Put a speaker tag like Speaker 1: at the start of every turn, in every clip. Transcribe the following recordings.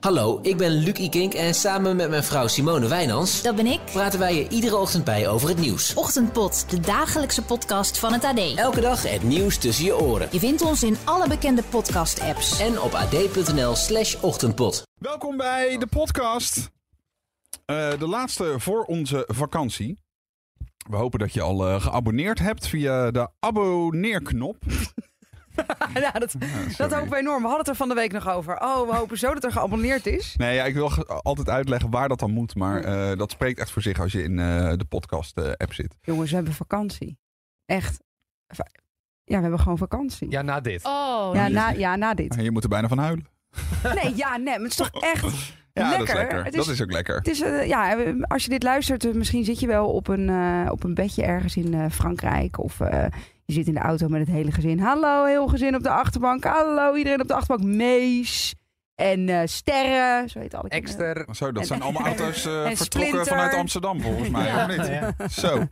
Speaker 1: Hallo, ik ben Luc Ikink en samen met mijn vrouw Simone Wijnands
Speaker 2: Dat ben ik.
Speaker 1: praten wij je iedere ochtend bij over het nieuws.
Speaker 2: Ochtendpot, de dagelijkse podcast van het AD.
Speaker 1: Elke dag het nieuws tussen je oren.
Speaker 2: Je vindt ons in alle bekende podcast-apps.
Speaker 1: En op ad.nl slash ochtendpot.
Speaker 3: Welkom bij de podcast. Eh, de laatste voor onze vakantie. We hopen dat je al eh, geabonneerd hebt via de abonneerknop.
Speaker 4: Ja, dat, dat
Speaker 3: sorry.
Speaker 4: hopen we enorm. We hadden het er van de week nog over. Oh, we hopen zo dat er geabonneerd is.
Speaker 3: Nee, ja, ik wil ge- altijd uitleggen waar dat dan moet. Maar eh, dat spreekt echt voor zich als je in eh, de podcast-app zit.
Speaker 4: Jongens, we hebben vakantie. Echt. Va- Ja, we hebben gewoon vakantie.
Speaker 5: Ja, na dit.
Speaker 6: Oh,
Speaker 4: ja, na, ja na dit.
Speaker 3: En Ah, je moet er bijna van huilen.
Speaker 4: Nee, ja, nee, maar het is toch echt...
Speaker 3: Ja, dat is
Speaker 4: Lekker.
Speaker 3: lekker.
Speaker 4: Het
Speaker 3: Dat
Speaker 4: is-
Speaker 3: is ook lekker.
Speaker 4: Het is, eh, ja, als je dit luistert, eh, misschien zit je wel op een, eh, op een bedje ergens in eh, Frankrijk. Of eh, je zit in de auto met het hele gezin. Hallo, heel gezin op de achterbank. Hallo, iedereen op de achterbank. Mees en eh, Sterren. Zo heet alle kinderen.
Speaker 5: Exter.
Speaker 3: Zo, dat
Speaker 4: En-
Speaker 3: zijn allemaal auto's eh,
Speaker 4: en
Speaker 3: vertrokken
Speaker 4: Splinter.
Speaker 3: vanuit Amsterdam volgens mij.
Speaker 5: Ja.
Speaker 3: Of niet?
Speaker 5: Ja.
Speaker 3: Zo.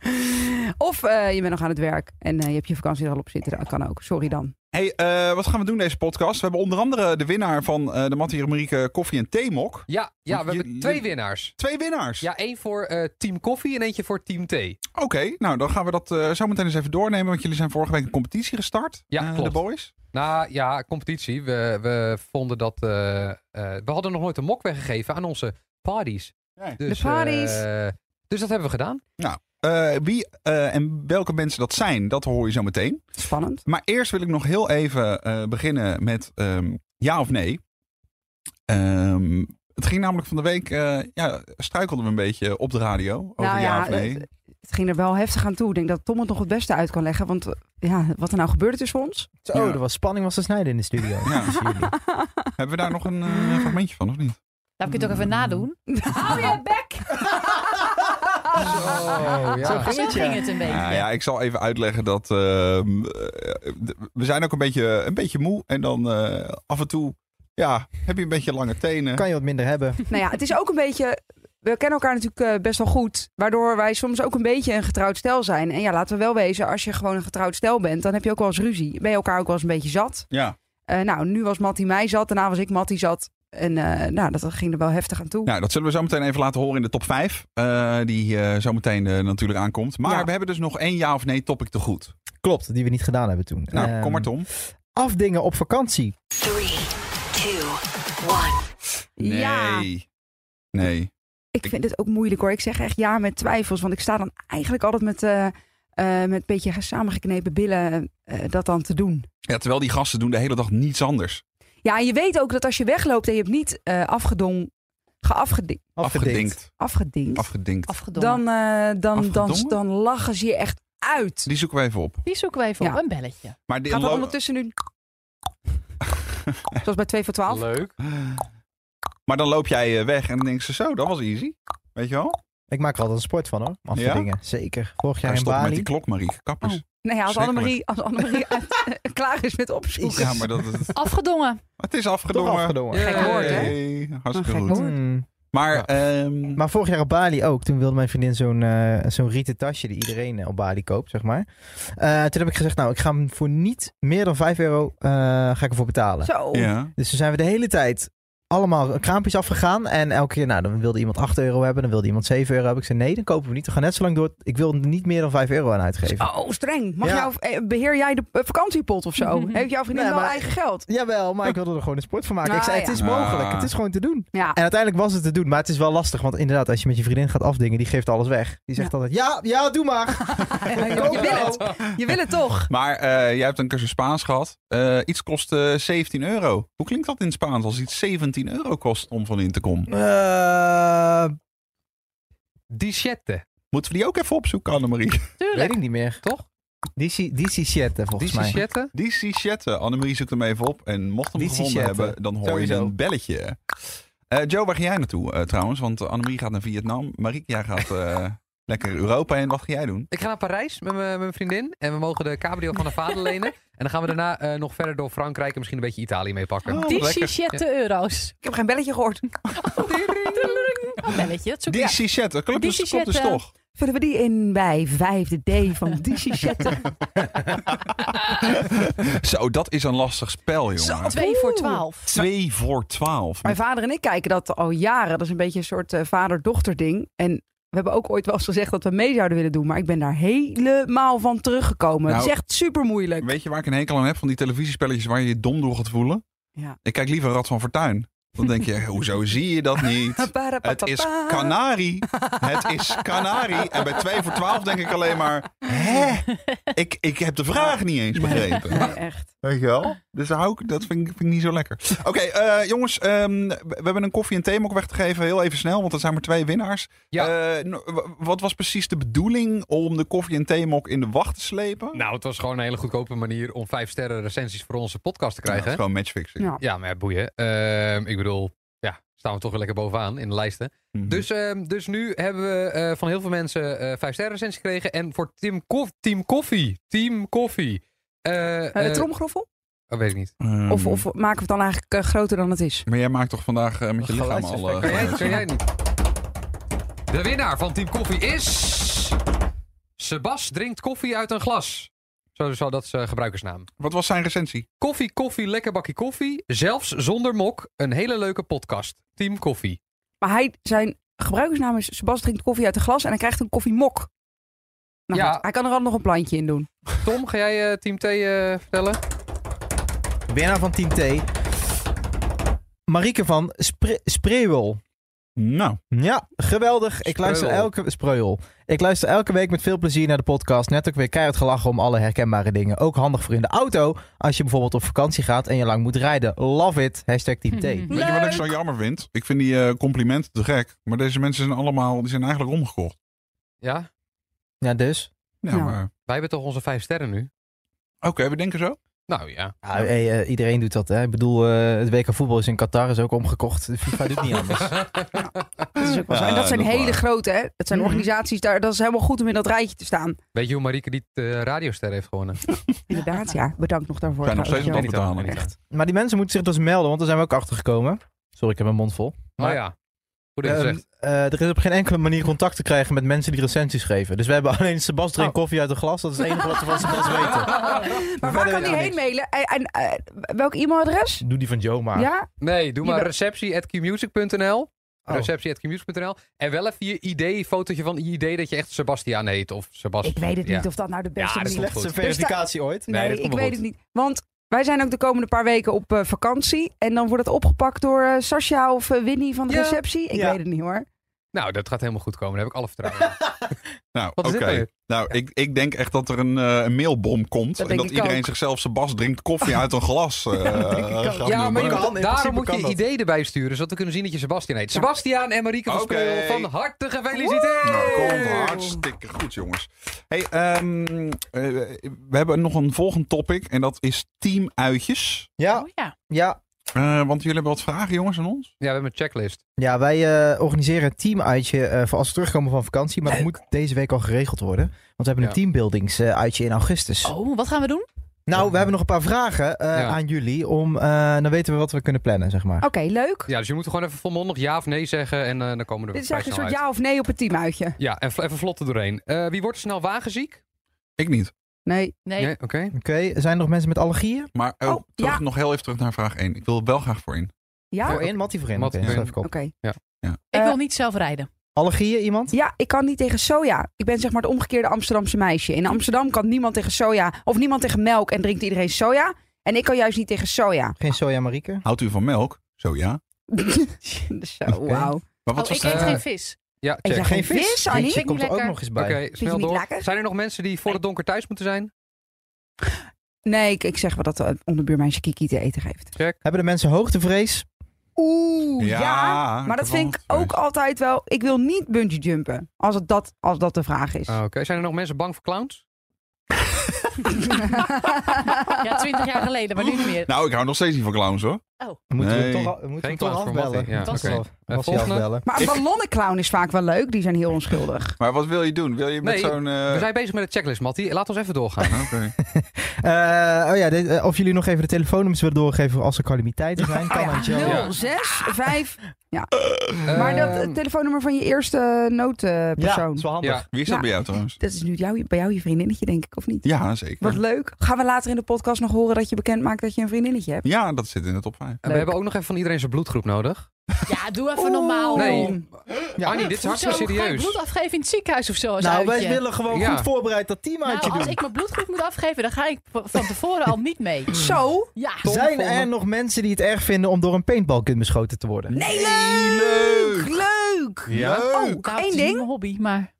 Speaker 4: Of eh, je bent nog aan het werk en eh, je hebt je vakantie er al op zitten. Dat kan ook. Sorry dan.
Speaker 3: Hey, eh, wat gaan we doen deze podcast? We hebben onder andere de winnaar van eh, de Mattie en Marieke Koffie en Theemok.
Speaker 5: Ja, ja, we
Speaker 3: Je-
Speaker 5: hebben twee
Speaker 3: je-
Speaker 5: winnaars.
Speaker 3: Twee winnaars.
Speaker 5: Ja, één voor eh, Team Koffie en eentje voor Team Thee.
Speaker 3: Oké, nou dan gaan we dat eh, zo meteen eens even doornemen. Want jullie zijn vorige week een competitie gestart.
Speaker 5: Ja,
Speaker 3: eh, De
Speaker 5: klopt.
Speaker 3: boys.
Speaker 5: Nou ja, competitie. We, we vonden dat... eh, eh, we hadden nog nooit een mok weggegeven aan onze parties.
Speaker 3: Nee.
Speaker 5: Dus,
Speaker 4: De parties.
Speaker 5: eh, dus dat hebben we gedaan.
Speaker 3: Eh, wie eh, en welke mensen dat zijn, dat hoor je zo meteen.
Speaker 4: Spannend.
Speaker 3: Maar eerst wil ik nog heel even eh, beginnen met ehm, ja of nee. Ehm, het ging namelijk van de week, eh, ja, struikelden we een beetje op de radio over ja, of nee.
Speaker 4: het, het ging er wel heftig aan toe. Ik denk dat Tom het nog het beste uit kan leggen. Want eh, ja, wat er nou gebeurd is voor ons.
Speaker 3: Ja.
Speaker 7: Oh, er was spanning was te snijden in de studio.
Speaker 3: Ja.
Speaker 7: Tussen jullie.
Speaker 3: Hebben we daar nog een eh, fragmentje van of niet?
Speaker 6: Laat ik nou, het ook even nadoen.
Speaker 4: Hou je bek!
Speaker 5: Oh,
Speaker 7: Zo
Speaker 5: ja.
Speaker 7: ging
Speaker 6: Zo
Speaker 7: het, ja.
Speaker 6: ging het een beetje.
Speaker 3: Nou ja, ik zal even uitleggen dat ehm, eh, d- we zijn ook een beetje, een beetje moe. En dan eh, af en toe ja, heb je een beetje lange tenen.
Speaker 7: Kan je wat minder hebben.
Speaker 4: Nou ja, het is ook een beetje... We kennen elkaar natuurlijk eh, best wel goed. Waardoor wij soms ook een beetje een getrouwd stel zijn. En ja, laten we wel wezen. Als je gewoon een getrouwd stel bent, dan heb je ook wel eens ruzie. Ben je elkaar ook wel eens een beetje zat.
Speaker 3: Ja.
Speaker 4: Eh, nou, nu was Mattie mij zat. Daarna was ik Mattie zat. En eh, nou, dat ging er wel heftig aan toe.
Speaker 3: Nou, dat zullen we zo meteen even laten horen in de top 5. eh, die eh, zo meteen eh, natuurlijk aankomt. Maar
Speaker 4: Ja.
Speaker 3: we hebben dus nog één ja of nee topic te goed.
Speaker 7: Klopt, die we niet gedaan hebben toen.
Speaker 3: Nou,
Speaker 7: Ehm,
Speaker 3: kom maar Tom.
Speaker 7: Afdingen op vakantie.
Speaker 4: Ja.
Speaker 3: Nee. Nee.
Speaker 4: Ik
Speaker 3: Ik-
Speaker 4: vind het ook moeilijk hoor. Ik zeg echt ja met twijfels. Want ik sta dan eigenlijk altijd met, eh, eh, met een beetje samengeknepen billen eh, dat dan te doen.
Speaker 3: Ja, terwijl die gasten doen de hele dag niets anders.
Speaker 4: Ja, en je weet ook dat als je wegloopt en je hebt niet eh afgedong, geafgeding,
Speaker 7: Afgedinkt.
Speaker 3: Afgedinkt.
Speaker 4: afgedinkt,
Speaker 3: Afgedinkt.
Speaker 6: Afgedongen.
Speaker 4: dan, eh, dan, dan, dan
Speaker 3: Afgedongen?
Speaker 4: lachen ze je echt uit.
Speaker 3: Die zoeken we even op.
Speaker 6: Die zoeken we even
Speaker 4: Ja.
Speaker 6: op. Een belletje.
Speaker 3: Maar die
Speaker 4: Gaat er
Speaker 3: lo-
Speaker 4: ondertussen nu... Zoals bij 2 voor 12.
Speaker 5: Leuk.
Speaker 3: Maar dan loop jij eh, weg en dan denken ze zo, dat was easy. Weet je wel?
Speaker 7: Ik maak er altijd een sport van hoor. Afdingen, zeker. Vorig
Speaker 3: Ga
Speaker 7: jaar in
Speaker 3: stoppen met
Speaker 7: Bali.
Speaker 3: die klok, Marieke. Kappers.
Speaker 4: Oh. Nee, als
Speaker 3: Schrikkelijk.
Speaker 4: Annemarie, als Annemarie uit, eh, klaar is met opzoeken.
Speaker 3: Ja, maar dat, het,
Speaker 6: Afgedongen.
Speaker 3: het is
Speaker 7: Toch
Speaker 3: afgedongen.
Speaker 7: afgedongen.
Speaker 4: Gek woord, hè?
Speaker 3: Hey, hartstikke
Speaker 4: Een gek
Speaker 3: goed.
Speaker 4: woord.
Speaker 7: Hmm.
Speaker 3: Maar,
Speaker 7: Ja.
Speaker 3: ehm,
Speaker 7: Maar vorig jaar op Bali ook. Toen wilde mijn vriendin zo'n eh, zo'n rieten tasje die iedereen eh, op Bali koopt, zeg maar. Eh, toen heb ik gezegd, nou, ik ga hem voor niet meer dan 5 euro eh, ga ik ervoor betalen.
Speaker 4: Zo.
Speaker 3: ja.
Speaker 7: Dus toen zijn we de hele tijd allemaal kraampjes afgegaan. En elke keer, nou, dan wilde iemand 8 euro hebben, dan wilde iemand 7 euro hebben. Ik zei, nee, dan kopen we niet. We gaan net zo lang door. Ik wil er niet meer dan 5 euro aan uitgeven.
Speaker 4: Oh, streng. Mag
Speaker 7: Ja.
Speaker 4: jouw, eh, beheer jij de eh, vakantiepot of zo? Heeft jouw vriendin
Speaker 7: Nee,
Speaker 4: wel
Speaker 7: maar-
Speaker 4: eigen geld?
Speaker 7: Jawel, maar ik wilde er gewoon een sport van maken.
Speaker 4: Ah,
Speaker 7: ik zei,
Speaker 4: ja.
Speaker 7: het is mogelijk.
Speaker 3: Ah.
Speaker 7: Het is gewoon te doen.
Speaker 4: Ja.
Speaker 7: En uiteindelijk was het te doen, maar het is wel lastig. Want inderdaad, als je met je vriendin gaat afdingen, die geeft alles weg. Die zegt altijd, ja, ja, doe maar.
Speaker 4: je, wil het. je wil het toch?
Speaker 3: maar eh, jij hebt een cursus Spaans gehad. Eh, iets kost eh, 17 euro. Hoe klinkt dat in het Spaans als iets 17 euro kost om van in te komen?
Speaker 7: Eh,
Speaker 5: Dichette.
Speaker 3: Moeten we die ook even opzoeken, Annemarie?
Speaker 7: weet
Speaker 6: Tuurlijk.
Speaker 7: ik niet meer.
Speaker 5: Toch?
Speaker 7: Die Dicicette, volgens mij.
Speaker 5: Dichette.
Speaker 3: Die sichette. Annemarie zoekt hem even op. En mocht hem
Speaker 7: Die
Speaker 3: gevonden
Speaker 7: sichette.
Speaker 3: hebben, dan hoor je
Speaker 7: Sowieso.
Speaker 3: een belletje. Eh, Joe, waar ga jij naartoe eh, trouwens? Want eh, Annemarie gaat naar Vietnam. Marieke, jij gaat eh, Lekker Europa en wat ga jij doen?
Speaker 5: Ik ga naar Parijs met mijn met mijn vriendin. En we mogen de cabrio van haar vader lenen. En dan gaan we daarna eh, nog verder door Frankrijk en misschien een beetje Italië meepakken.
Speaker 3: Oh,
Speaker 6: Die
Speaker 3: lekker.
Speaker 6: 6 euro's.
Speaker 4: Ik heb geen belletje gehoord.
Speaker 6: Een belletje, dat zoek
Speaker 3: Die
Speaker 6: ik.
Speaker 3: Cichet, dat klopt
Speaker 6: Die
Speaker 3: dus, klopt dus
Speaker 6: Cichet, eh,
Speaker 3: toch.
Speaker 4: Vullen we die in bij vijfde D van Dichichette?
Speaker 3: Zo, dat is een lastig spel, jongen.
Speaker 4: Zo.
Speaker 6: 2 voor
Speaker 4: Oeh.
Speaker 6: 12.
Speaker 3: Twee voor twaalf.
Speaker 4: Mijn vader en ik kijken dat al jaren. Dat is een beetje een soort eh, vader-dochter ding. En we hebben ook ooit wel eens gezegd dat we mee zouden willen doen. Maar ik ben daar helemaal van teruggekomen. Het
Speaker 3: Nou,
Speaker 4: is echt super moeilijk.
Speaker 3: Weet je waar ik een hekel aan heb van die televisiespelletjes waar je je dom door gaat voelen?
Speaker 4: Ja.
Speaker 3: Ik kijk liever Rad van Fortuin. Dan denk je, hoezo zie je dat niet? Het is kanarie. Het is kanarie. En bij 2 voor 12 denk ik alleen maar, hè? Ik, ik heb de vraag niet eens begrepen.
Speaker 4: Nee, echt.
Speaker 3: Weet je wel? Dus daar hou ik, dat vind ik, vind ik niet zo lekker. Oké, eh, jongens, ehm, we we hebben een koffie en thee ook weg te geven. Heel even snel, want er zijn maar twee winnaars.
Speaker 5: Ja.
Speaker 3: Eh, no- w- wat was precies de bedoeling om de koffie en theemok in de wacht te slepen?
Speaker 5: Nou, het was gewoon een hele goedkope manier om vijf sterren recensies voor onze podcast te
Speaker 3: Ja, dat
Speaker 5: krijgen.
Speaker 3: is Nou, gewoon matchfixing.
Speaker 4: Ja.
Speaker 5: Ja, maar ja, boeien. Ehm, ik bedoel, ja, staan we toch weer lekker bovenaan in de lijsten.
Speaker 3: Mhm.
Speaker 5: Dus, ehm, dus nu hebben we eh, van heel veel mensen eh vijf sterren recensie gekregen. En voor Tim Koff, Team Koffie, Team Koffie. eh,
Speaker 4: Eh, de
Speaker 5: eh,
Speaker 4: tromgroffel?
Speaker 5: oh, weet ik niet.
Speaker 3: Ehm,
Speaker 4: Of, of maken we het dan eigenlijk eh, groter dan het is?
Speaker 3: Maar jij maakt toch vandaag eh, met je lichaam al... eh,
Speaker 5: Kan jij,
Speaker 3: geluid?
Speaker 5: kan jij niet? De winnaar van Team Koffie is... Sebas drinkt koffie uit een glas. Zo, zo dat is eh, gebruikersnaam.
Speaker 3: Wat was zijn recensie?
Speaker 5: Koffie, koffie, lekker bakje koffie. Zelfs zonder mok, een hele leuke podcast. Team Koffie.
Speaker 4: Maar hij, zijn gebruikersnaam is Sebastian drinkt koffie uit een glas en hij krijgt een koffiemok. Nou
Speaker 5: Ja.
Speaker 4: goed, hij kan er al nog een plantje in doen.
Speaker 5: Tom, ga jij eh, Team T eh, vertellen?
Speaker 7: Winnaar van Team T. Marieke van Spre Spreeuwel.
Speaker 3: Nou,
Speaker 7: Ja, geweldig. Ik luister,
Speaker 5: Spreul.
Speaker 7: elke, Spreul. ik luister elke week met veel plezier naar de podcast. Net ook weer keihard gelachen om alle herkenbare dingen. Ook handig voor in de auto als je bijvoorbeeld op vakantie gaat en je lang moet rijden. Love it. Hashtag Team T.
Speaker 3: weet je wat ik zo jammer vind? Ik vind die eh, complimenten te gek. Maar deze mensen zijn allemaal, die zijn eigenlijk omgekocht.
Speaker 5: Ja,
Speaker 7: Ja, dus.
Speaker 3: Ja,
Speaker 4: Ja.
Speaker 3: maar...
Speaker 5: wij hebben toch onze vijf sterren nu?
Speaker 3: Oké, we denken zo.
Speaker 5: Nou ja.
Speaker 7: Ja, hey, eh, iedereen doet dat. Hè? Ik bedoel, eh, het WK voetbal is in Qatar is ook omgekocht. De FIFA doet niet anders.
Speaker 4: Dat is ook wel zo.
Speaker 3: Ja,
Speaker 4: en dat zijn
Speaker 3: dat is
Speaker 4: hele
Speaker 3: waar.
Speaker 4: grote, hè? Dat zijn
Speaker 7: Mhm.
Speaker 4: organisaties, daar, dat is helemaal goed om in dat rijtje te staan.
Speaker 5: Weet je hoe Marieke die eh, radioster heeft gewonnen?
Speaker 4: Inderdaad, ja. Bedankt nog daarvoor.
Speaker 3: Zijn nog steeds aan
Speaker 4: trouwens,
Speaker 3: het betalen.
Speaker 4: Echt.
Speaker 7: Maar die mensen moeten zich dus melden, want daar zijn we ook achter gekomen. Sorry, ik heb mijn mond vol.
Speaker 5: Maar ja, goed dat je het
Speaker 7: Ehm,
Speaker 5: zegt.
Speaker 7: eh, er is op geen enkele manier contact te krijgen met mensen die recensies geven. Dus we hebben alleen Sebas drinkt koffie uit een glas. Dat is het enige wat we van Sebas weten.
Speaker 4: Maar waar
Speaker 7: Verder
Speaker 4: kan die
Speaker 7: niks.
Speaker 4: heen mailen? En, en, eh, welk e-mailadres?
Speaker 7: Doe die van Joe maar.
Speaker 4: Ja?
Speaker 5: Nee, doe
Speaker 4: Je
Speaker 5: maar
Speaker 4: bent-
Speaker 5: receptie.qmusic.nl.
Speaker 7: Oh.
Speaker 5: Receptie.qmusic.nl. En wel even je idee, fotootje van je idee dat je echt Sebastiaan heet. Of Sebastian.
Speaker 4: Ik weet het
Speaker 5: Ja.
Speaker 4: niet of dat nou de beste
Speaker 5: Ja, Ah, dat
Speaker 4: manier
Speaker 5: komt
Speaker 4: is.
Speaker 7: Slechtste
Speaker 5: goed.
Speaker 7: verificatie ooit.
Speaker 5: Nee,
Speaker 4: Nee,
Speaker 5: dat komt
Speaker 4: ik
Speaker 5: wel
Speaker 4: weet
Speaker 5: goed.
Speaker 4: het niet. Want wij zijn ook de komende paar weken op eh, vakantie. En dan wordt het opgepakt door eh, Sascha of eh, Winnie van de
Speaker 5: Ja.
Speaker 4: receptie. Ik
Speaker 7: Ja.
Speaker 4: weet het niet hoor.
Speaker 5: Nou, dat gaat helemaal goed komen. Daar heb ik alle vertrouwen in.
Speaker 3: Nou,
Speaker 5: Wat
Speaker 3: oké.
Speaker 5: is dit nou weer?
Speaker 3: Nou, ik, ik denk echt dat er een, eh, een mailbom komt.
Speaker 4: Dat
Speaker 3: en
Speaker 4: denk
Speaker 3: dat
Speaker 4: ik
Speaker 3: iedereen
Speaker 4: ook.
Speaker 3: zichzelf zijn bas drinkt koffie uit een glas. eh, gaat
Speaker 7: Ja, maar
Speaker 3: noemen.
Speaker 7: je kan- in
Speaker 5: Daarom
Speaker 7: principe
Speaker 5: moet je
Speaker 7: kan
Speaker 5: je
Speaker 7: dat.
Speaker 5: idee erbij sturen, zodat we kunnen zien dat je Sebastian heet. Sebastiaan en Marieke van
Speaker 3: Oké.
Speaker 5: Spreeuwen, van harte gefeliciteerd!
Speaker 3: Nou, komt hartstikke goed, jongens. Hey, ehm, eh, we hebben nog een volgend topic. En dat is teamuitjes.
Speaker 7: Ja,
Speaker 6: Oh ja.
Speaker 7: ja.
Speaker 3: Eh, want jullie hebben wat vragen, jongens, aan ons?
Speaker 5: Ja, we hebben een checklist.
Speaker 7: ja wij eh, organiseren een teamuitje eh, voor als we terugkomen van vakantie. Maar dat moet deze week al geregeld worden. Want we hebben
Speaker 5: Ja.
Speaker 7: een teambuildingsuitje in augustus.
Speaker 6: Oh, wat gaan we doen?
Speaker 7: Nou, we hebben nog een paar vragen eh,
Speaker 5: Ja.
Speaker 7: aan jullie. Om, eh, dan weten we wat we kunnen plannen, zeg maar.
Speaker 4: Oké, leuk.
Speaker 5: Ja, dus je moet gewoon even volmondig ja of nee zeggen en eh, dan komen we er
Speaker 4: Dit is
Speaker 5: vrij
Speaker 4: eigenlijk een
Speaker 5: snel
Speaker 4: soort
Speaker 5: uit.
Speaker 4: ja of nee op het teamuitje.
Speaker 5: Ja, en vl- even vlot er doorheen. Eh, wie wordt snel wagenziek?
Speaker 3: Ik niet.
Speaker 4: Nee.
Speaker 6: Nee.
Speaker 5: Nee, oké.
Speaker 7: Oké, zijn er nog mensen met allergieën?
Speaker 3: Maar oh,
Speaker 4: Oh,
Speaker 3: terug,
Speaker 4: ja.
Speaker 3: nog heel even terug naar vraag 1. Ik wil er wel graag voor in.
Speaker 4: Ja?
Speaker 7: Voor
Speaker 4: Oké.
Speaker 7: één, Mattie voor één.
Speaker 5: Mattie
Speaker 7: Oké,
Speaker 5: voor
Speaker 7: schrijf
Speaker 5: één.
Speaker 7: ik op.
Speaker 6: Ik
Speaker 4: Eh,
Speaker 6: wil niet zelf rijden.
Speaker 7: Allergieën, iemand?
Speaker 4: Ja, ik kan niet tegen soja. Ik ben zeg maar het omgekeerde Amsterdamse meisje. In Amsterdam kan niemand tegen soja of niemand tegen melk en drinkt iedereen soja. En ik kan juist niet tegen soja.
Speaker 7: Geen soja, Marieke?
Speaker 3: Houdt u van melk? Zo ja.
Speaker 4: Zo, wauw.
Speaker 3: Maar wat
Speaker 6: oh,
Speaker 3: was
Speaker 6: ik
Speaker 3: de-
Speaker 6: eet
Speaker 5: eh,
Speaker 6: geen vis.
Speaker 5: Ja,
Speaker 4: Eet
Speaker 5: check.
Speaker 4: jij
Speaker 5: Oké,
Speaker 4: geen vis, Annie?
Speaker 7: Jeetje, komt er ook
Speaker 6: lekker.
Speaker 7: nog eens bij.
Speaker 4: je
Speaker 5: snel
Speaker 4: niet
Speaker 5: door.
Speaker 4: lekker?
Speaker 5: Zijn er nog mensen die voor het donker thuis moeten zijn?
Speaker 4: Nee, ik, ik zeg wel dat de onderbuurmeisje Kiki te eten geeft.
Speaker 7: Hebben de mensen hoogtevrees?
Speaker 4: Oeh,
Speaker 3: Ja,
Speaker 4: ja
Speaker 3: ik
Speaker 4: Maar
Speaker 3: heb
Speaker 4: dat
Speaker 3: wel
Speaker 4: vind ik
Speaker 3: nog
Speaker 4: ook
Speaker 3: twee.
Speaker 4: altijd wel. Ik wil niet bungee jumpen. Als, het dat, als dat de vraag is.
Speaker 5: Ah, oké. Zijn er nog mensen bang voor clowns?
Speaker 6: Ja, 20 jaar geleden, maar nu niet meer.
Speaker 3: Nou, ik hou nog steeds niet van clowns hoor.
Speaker 7: Moeten we
Speaker 3: Nee.
Speaker 7: hem toch, al- moeten we hem
Speaker 5: Geen
Speaker 7: toch
Speaker 5: kans voor
Speaker 7: afbellen?
Speaker 5: Mattie, ja.
Speaker 7: Moeten we
Speaker 5: Oké.
Speaker 7: hem toch
Speaker 5: Eh,
Speaker 7: af- Mattie
Speaker 5: volgende.
Speaker 7: afbellen?
Speaker 4: Maar een ballonnenclown is vaak wel leuk. Die zijn heel onschuldig.
Speaker 3: Maar wat wil je doen? Wil je met
Speaker 5: Nee,
Speaker 3: zo'n... eh,
Speaker 5: We zijn bezig met de checklist, Mattie. Laat ons even doorgaan.
Speaker 3: oké.
Speaker 7: Eh, oh ja, dit- eh, of jullie nog even de telefoonnummers willen doorgeven als er calamiteiten zijn. Kan
Speaker 4: Oh
Speaker 7: aan
Speaker 4: ja,
Speaker 7: Jel.
Speaker 5: Ja.
Speaker 4: 06, 5. Maar dat eh, telefoonnummer van je eerste
Speaker 7: Ja,
Speaker 4: noodpersoon.
Speaker 7: dat is wel handig.
Speaker 5: Ehm, ja.
Speaker 3: Wie is dat
Speaker 4: Ja.
Speaker 3: bij jou trouwens?
Speaker 4: dat is nu jou, bij jou je vriendinnetje, denk ik, of niet?
Speaker 3: Ja,
Speaker 4: Wat
Speaker 3: zeker.
Speaker 4: leuk. Gaan we later in de podcast nog horen dat je bekend maakt dat je een vriendinnetje hebt?
Speaker 3: Ja, dat zit in de top 5.
Speaker 5: En we hebben ook nog even van iedereen zijn bloedgroep nodig.
Speaker 6: Ja, doe even normaal.
Speaker 4: Oeh.
Speaker 5: Nee.
Speaker 6: joh.
Speaker 7: Ja.
Speaker 5: Annie, dit is
Speaker 6: Hoezo?
Speaker 5: hartstikke
Speaker 6: Ga je
Speaker 5: serieus.
Speaker 6: bloed afgeven in het ziekenhuis of zo? Als
Speaker 7: Nou,
Speaker 6: uitje?
Speaker 7: wij willen gewoon
Speaker 5: Ja.
Speaker 7: goed voorbereid dat team
Speaker 6: Nou,
Speaker 7: uitje
Speaker 6: als
Speaker 7: doen.
Speaker 6: ik mijn bloedgroep moet afgeven, dan ga ik v- van tevoren al niet mee.
Speaker 4: Zo.
Speaker 6: Ja,
Speaker 7: Zijn er nog mensen die het erg vinden om door een paintballgun beschoten te worden?
Speaker 4: Nee, leuk. Leuk.
Speaker 3: Ja?
Speaker 4: Oh,
Speaker 6: Nou, het
Speaker 4: één
Speaker 6: is niet
Speaker 4: ding.
Speaker 6: mijn hobby, maar...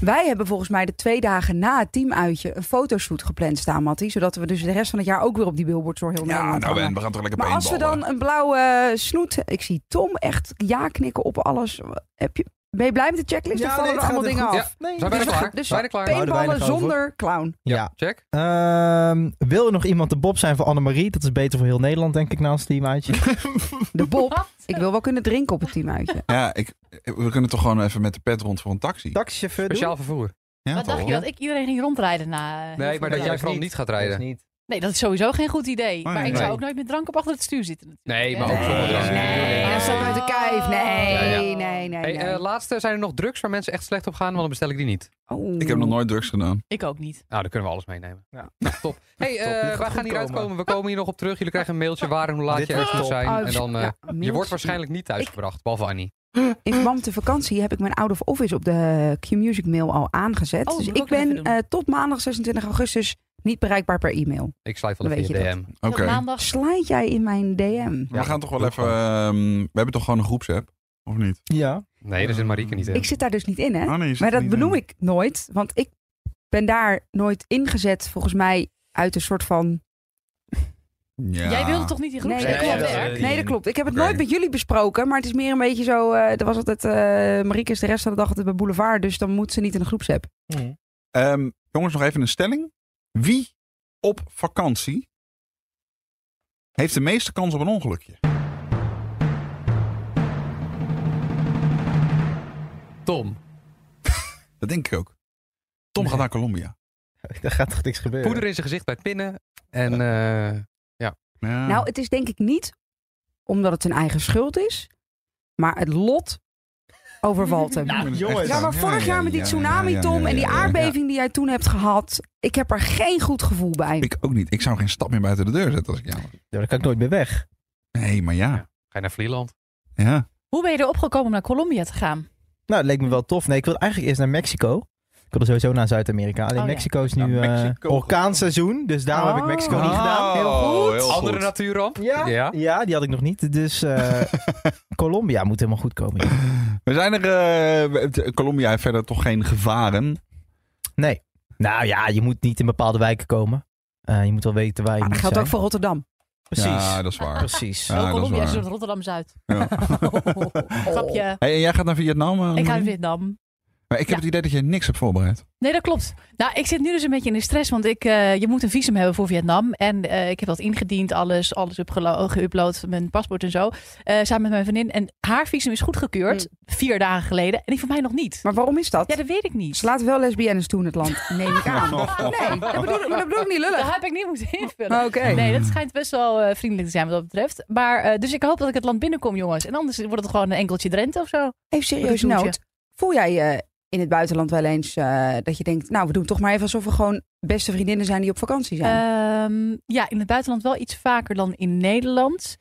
Speaker 4: Wij hebben volgens mij de twee dagen na het teamuitje een fotoshoot gepland staan, Mattie. Zodat we dus de rest van het jaar ook weer op die billboards door heel
Speaker 3: Ja,
Speaker 4: Nederland
Speaker 3: nou
Speaker 4: hangen.
Speaker 3: Ben, we gaan toch lekker
Speaker 4: Maar als we
Speaker 3: paintballen?
Speaker 4: dan een blauwe snoet... Ik zie Tom echt ja knikken op alles. Heb je, ben je blij met de checklist? of vallen
Speaker 7: nee,
Speaker 4: er
Speaker 7: het
Speaker 4: allemaal
Speaker 7: gaat
Speaker 4: dingen
Speaker 7: heel
Speaker 4: af?
Speaker 5: goed.
Speaker 7: goed. Nee.
Speaker 5: Zijn wij er
Speaker 4: Dus-
Speaker 5: klaar?
Speaker 4: dus-
Speaker 5: Zijn we er klaar?
Speaker 7: Pe- houden
Speaker 4: Paintballen
Speaker 7: weinig over.
Speaker 4: zonder clown.
Speaker 7: Ja.
Speaker 5: Check.
Speaker 7: Ehm, wil je nog iemand de Bob zijn voor Annemarie? Dat is beter voor heel Nederland, denk ik, na ons teamuitje.
Speaker 4: De Bob. Ik wil wel kunnen drinken op het teamuitje.
Speaker 3: Ja, ik, we kunnen toch gewoon even met de pet rond voor een taxi?
Speaker 7: Taxichauffeur doen?
Speaker 5: Speciaal vervoer.
Speaker 3: ja,
Speaker 6: Wat
Speaker 3: toch?
Speaker 6: dacht je, dat ik iedereen ging rondrijden na... eh, heel
Speaker 5: Nee,
Speaker 6: veel
Speaker 5: maar dat
Speaker 7: Ja,
Speaker 5: jij
Speaker 7: juist
Speaker 5: vooral
Speaker 7: niet.
Speaker 5: niet gaat
Speaker 7: Dat is
Speaker 5: rijden.
Speaker 7: niet.
Speaker 6: Nee, dat is sowieso geen goed idee.
Speaker 3: Oh, Nee,
Speaker 6: maar ik
Speaker 3: nee.
Speaker 6: zou ook nooit met drank op achter het stuur zitten. natuurlijk,
Speaker 5: Nee,
Speaker 6: hè.
Speaker 5: maar ook
Speaker 4: Nee,
Speaker 5: voor de
Speaker 4: nee, nee, dat is ook uit de kijf. Nee,
Speaker 5: Ja, ja.
Speaker 4: nee, nee, nee.
Speaker 5: Hey, eh, laatste, zijn er nog drugs waar mensen echt slecht op gaan? Want dan bestel ik die niet.
Speaker 4: Oh.
Speaker 3: Ik heb nog nooit drugs gedaan.
Speaker 6: Ik ook niet.
Speaker 5: Nou, dan kunnen we alles meenemen.
Speaker 7: Ja.
Speaker 5: Nou, top. Hey, eh,
Speaker 7: Top, dit gaat
Speaker 5: wij
Speaker 7: goed
Speaker 5: gaan hier
Speaker 7: komen.
Speaker 5: uitkomen. We komen hier nog op terug. Jullie krijgen een mailtje waar en hoe laat
Speaker 7: Dit
Speaker 5: je
Speaker 7: wordt
Speaker 5: ergens moet
Speaker 7: top.
Speaker 5: zijn.
Speaker 4: Oh,
Speaker 5: en dan, eh,
Speaker 4: ja,
Speaker 5: je wordt
Speaker 4: mails.
Speaker 5: waarschijnlijk niet thuisgebracht, behalve Annie.
Speaker 4: In verband met de vakantie heb ik mijn out of office op de Q-Music mail al aangezet.
Speaker 6: Oh,
Speaker 4: dus
Speaker 6: moet ik
Speaker 4: ik
Speaker 6: ook nog
Speaker 4: ben
Speaker 6: even doen.
Speaker 4: eh, tot maandag 26 augustus niet bereikbaar per e-mail.
Speaker 5: Ik sluit wel
Speaker 4: Dan
Speaker 5: even je
Speaker 4: weet je
Speaker 5: DM.
Speaker 3: Oké.
Speaker 6: Op maandag.
Speaker 4: Slijt jij in mijn DM?
Speaker 3: We gaan toch wel
Speaker 7: doe
Speaker 3: even...
Speaker 7: gewoon.
Speaker 3: ehm, we hebben toch gewoon een groepsapp? Of niet?
Speaker 7: Ja.
Speaker 5: Nee, daar zit Marieke niet in.
Speaker 4: Ik zit daar dus niet in, hè?
Speaker 3: Oh, nee, je zit
Speaker 4: Maar
Speaker 3: er
Speaker 4: dat
Speaker 3: niet in.
Speaker 4: benoem ik nooit, want ik ben daar nooit ingezet, volgens mij, uit een soort van...
Speaker 3: Ja.
Speaker 6: Jij wilde toch niet die groep
Speaker 4: Nee,
Speaker 6: zijn?
Speaker 4: dat klopt.
Speaker 7: Ja, ja, ja.
Speaker 4: Nee, dat klopt. Ik heb het
Speaker 3: Oké.
Speaker 4: nooit met jullie besproken, maar het is meer een beetje zo... eh, er was altijd... eh Marieke is de rest van de dag altijd bij Boulevard, dus dan moet ze niet in een groepsapp.
Speaker 3: Ehm, jongens, nog even een stelling. Wie op vakantie heeft de meeste kans op een ongelukje?
Speaker 5: Tom,
Speaker 3: Dat denk ik ook. Tom gaat naar Colombia.
Speaker 7: Daar gaat toch niks gebeuren?
Speaker 5: poeder in zijn gezicht bij het pinnen. En eh,
Speaker 3: Ja.
Speaker 4: Nou, het is denk ik niet omdat het zijn eigen schuld is, maar het lot overvalt hem.
Speaker 3: Ja, dat is
Speaker 7: jongens.
Speaker 3: echt
Speaker 4: Ja, maar
Speaker 3: zo.
Speaker 4: vorig
Speaker 3: ja,
Speaker 4: jaar met die
Speaker 3: ja,
Speaker 4: tsunami,
Speaker 3: ja, ja,
Speaker 4: Tom,
Speaker 3: ja,
Speaker 4: en die
Speaker 3: ja, ja.
Speaker 4: aardbeving die jij toen hebt gehad. Ik heb er geen goed gevoel bij.
Speaker 3: Ik ook niet. Ik zou geen stap meer buiten de deur zetten als ik jou was.
Speaker 7: Ja, daar kan ik nooit meer weg.
Speaker 3: Nee, maar ja.
Speaker 5: ga je naar Vlieland.
Speaker 3: ja.
Speaker 6: Hoe ben je erop gekomen om naar Colombia te gaan?
Speaker 7: Nou, het leek me wel tof. Nee, ik wil eigenlijk eerst naar Mexico. Ik wilde sowieso naar Zuid-Amerika. Alleen
Speaker 6: Oh, ja.
Speaker 7: Mexico is
Speaker 3: Naar
Speaker 7: nu eh,
Speaker 3: Mexico.
Speaker 7: orkaanseizoen. Dus daarom heb ik
Speaker 4: Oh.
Speaker 7: Mexico niet gedaan.
Speaker 3: Heel goed.
Speaker 5: Andere natuurramp?
Speaker 7: Ja,
Speaker 5: Ja.
Speaker 7: ja. die had ik nog niet. Dus eh, Colombia moet helemaal goed komen. joh.
Speaker 3: We zijn er... eh, we- t- Colombia heeft verder toch geen gevaren.
Speaker 7: Nee. Nou ja, je moet niet in bepaalde wijken komen. Eh, je moet wel weten waar je
Speaker 4: Maar Nou, Ah, dat geldt ook
Speaker 7: moet zijn.
Speaker 4: voor Rotterdam.
Speaker 7: Precies.
Speaker 3: Ja, dat is waar.
Speaker 7: Precies.
Speaker 3: Ja,
Speaker 6: Oh,
Speaker 3: dat is
Speaker 6: Colombia
Speaker 3: waar.
Speaker 6: is Rotterdam-Zuid.
Speaker 3: Ja.
Speaker 4: Oh.
Speaker 6: Grapje.
Speaker 3: Hey, en jij gaat naar Vietnam? eh,
Speaker 6: Ik ga naar
Speaker 3: Marie?
Speaker 6: Vietnam.
Speaker 3: Maar ik heb
Speaker 6: Ja.
Speaker 3: het idee dat je niks hebt voorbereid.
Speaker 6: Nee, dat klopt. Nou, ik zit nu dus een beetje in de stress, want ik, eh, je moet een visum hebben voor Vietnam. En eh, ik heb dat ingediend, alles, alles upgelo- geüpload, mijn paspoort en zo. eh, samen met mijn vriendin. En haar visum is goedgekeurd,
Speaker 4: Mm.
Speaker 6: vier dagen geleden. En die van mij nog niet.
Speaker 4: Maar waarom is dat?
Speaker 6: Ja, dat weet ik niet.
Speaker 4: Ze laten wel lesbiennes toe in het land, neem ik aan. Nee, dat bedoel, ik- maar dat bedoel ik niet
Speaker 6: Dat
Speaker 4: lullig.
Speaker 6: heb ik niet moeten invullen.
Speaker 4: Oké.
Speaker 6: Nee, dat schijnt best wel eh, vriendelijk te zijn wat dat betreft. Maar, eh, dus ik hoop dat ik het land binnenkom, jongens. En anders wordt het gewoon een enkeltje Drenthe of zo.
Speaker 4: Even serieus
Speaker 6: Wat een
Speaker 4: nood. Voel jij je in het buitenland wel eens eh, dat je denkt... nou, we doen toch maar even alsof we gewoon beste vriendinnen zijn die op vakantie zijn?
Speaker 6: Ehm, ja, in het buitenland wel iets vaker dan in Nederland.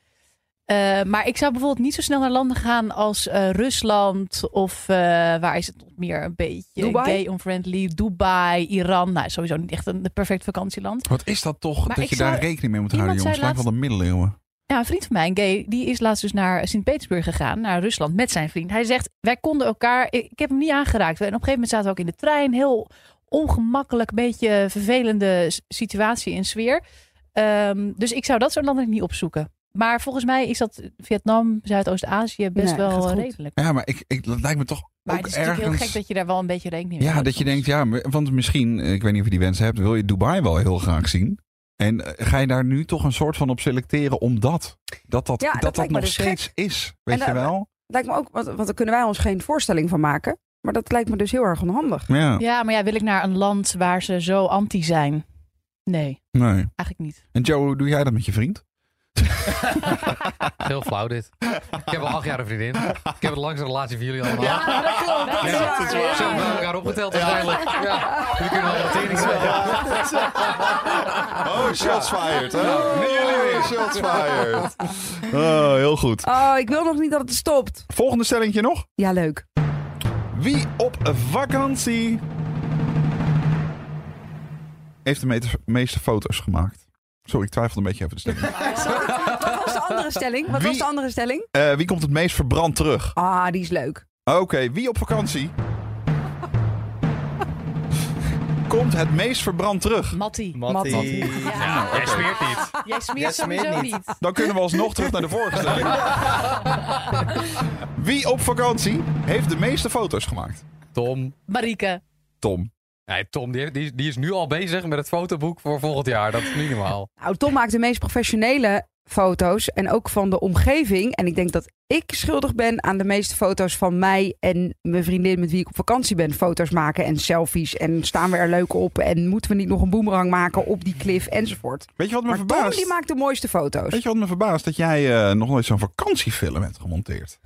Speaker 6: Eh, maar ik zou bijvoorbeeld niet zo snel naar landen gaan als eh, Rusland of eh, waar is het nog meer een beetje
Speaker 4: Dubai?
Speaker 6: gay unfriendly, Dubai, Iran. Nou, sowieso niet echt een perfect vakantieland.
Speaker 3: Wat is dat toch?
Speaker 6: Maar
Speaker 3: dat
Speaker 6: ik
Speaker 3: je
Speaker 6: zou-
Speaker 3: daar rekening mee moet
Speaker 6: Iemand
Speaker 3: houden, jongens.
Speaker 6: zei
Speaker 3: Lijkt wel de middeleeuwen.
Speaker 6: Ja, Nou, een vriend van mij, een gay, die is laatst dus naar Sint-Petersburg gegaan, naar Rusland, met zijn vriend. Hij zegt, wij konden elkaar, ik, ik heb hem niet aangeraakt. En op een gegeven moment zaten we ook in de trein, heel ongemakkelijk, beetje vervelende s- situatie en sfeer. Ehm, dus ik zou dat soort landen niet opzoeken. Maar volgens mij is dat Vietnam, Zuidoost-Azië
Speaker 4: Nee,
Speaker 6: best
Speaker 4: gaat
Speaker 6: wel
Speaker 4: goed.
Speaker 6: redelijk.
Speaker 3: Ja, maar ik, ik, dat lijkt me toch
Speaker 6: Maar
Speaker 3: ook
Speaker 6: het is
Speaker 3: ergens...
Speaker 6: natuurlijk heel gek dat je daar wel een beetje rekening mee
Speaker 3: Ja,
Speaker 6: houdt
Speaker 3: dat je
Speaker 6: soms.
Speaker 3: denkt, ja, maar- want misschien, eh, ik weet niet of je die wens hebt, wil je Dubai wel heel graag zien. En eh, ga je daar nu toch een soort van op selecteren omdat dat dat,
Speaker 4: Ja, dat
Speaker 3: dat, dat,
Speaker 4: lijkt me
Speaker 3: nog
Speaker 4: dus gek.
Speaker 3: steeds is, weet
Speaker 4: En eh,
Speaker 3: je
Speaker 4: dat-
Speaker 3: wel?
Speaker 4: Lijkt me ook, want, want daar kunnen wij ons geen voorstelling van maken. Maar dat lijkt me dus heel erg onhandig.
Speaker 3: Ja,
Speaker 6: Ja, maar ja, wil ik naar een land waar ze zo anti zijn? Nee,
Speaker 3: nee.
Speaker 6: eigenlijk niet.
Speaker 3: En Joe, hoe doe jij dat met je vriend?
Speaker 5: Heel flauw dit. Ik heb al acht jaar een vriendin. Ik heb een langste relatie van jullie allemaal.
Speaker 4: Ja, dat klopt.
Speaker 3: Ah,
Speaker 6: dat is
Speaker 5: Ja,
Speaker 6: waar,
Speaker 5: Zo
Speaker 6: ja.
Speaker 5: hebben we elkaar opgeteld uiteindelijk. Ja. Jullie kunnen wel relateren.
Speaker 3: Oh, shots fired. Hè? Jullie weer, shots fired.
Speaker 6: nou,
Speaker 3: Oh, heel goed.
Speaker 4: Oh, ik wil nog niet dat het stopt.
Speaker 3: Volgende stellingje nog.
Speaker 4: Ja, leuk.
Speaker 3: Wie op vakantie heeft de meeste- meeste foto's gemaakt? Sorry, ik twijfelde een beetje over de stelling.
Speaker 4: Wat was de andere stelling? Wat
Speaker 3: Wie-
Speaker 4: was de andere stelling?
Speaker 3: Eh, wie komt het meest verbrand terug?
Speaker 4: Ah, die is leuk.
Speaker 3: Oké, wie op vakantie komt het meest verbrand terug?
Speaker 6: Mattie.
Speaker 7: Mattie.
Speaker 4: Mattie.
Speaker 6: Ja,
Speaker 5: Jij smeert niet.
Speaker 6: Ah, jij smeert
Speaker 7: Jij smeert
Speaker 6: sowieso
Speaker 7: niet.
Speaker 6: niet.
Speaker 3: Dan kunnen we alsnog terug naar de vorige stelling. Wie op vakantie heeft de meeste foto's gemaakt?
Speaker 5: Tom.
Speaker 6: Marieke.
Speaker 3: Tom.
Speaker 5: Nee, Tom die, heeft- die, is- die is nu al bezig met het fotoboek voor volgend jaar. Dat is niet normaal.
Speaker 4: Nou, Tom maakt de meest professionele foto's en ook van de omgeving. En ik denk dat ik schuldig ben aan de meeste foto's van mij en mijn vriendin met wie ik op vakantie ben. Foto's maken en selfies en staan we er leuk op en moeten we niet nog een boemerang maken op die cliff enzovoort.
Speaker 3: Weet je wat me
Speaker 4: Maar Tom
Speaker 3: verbaast?
Speaker 4: die maakt de mooiste foto's.
Speaker 3: Weet je wat me verbaast? Dat jij eh, nog nooit zo'n vakantiefilm hebt gemonteerd.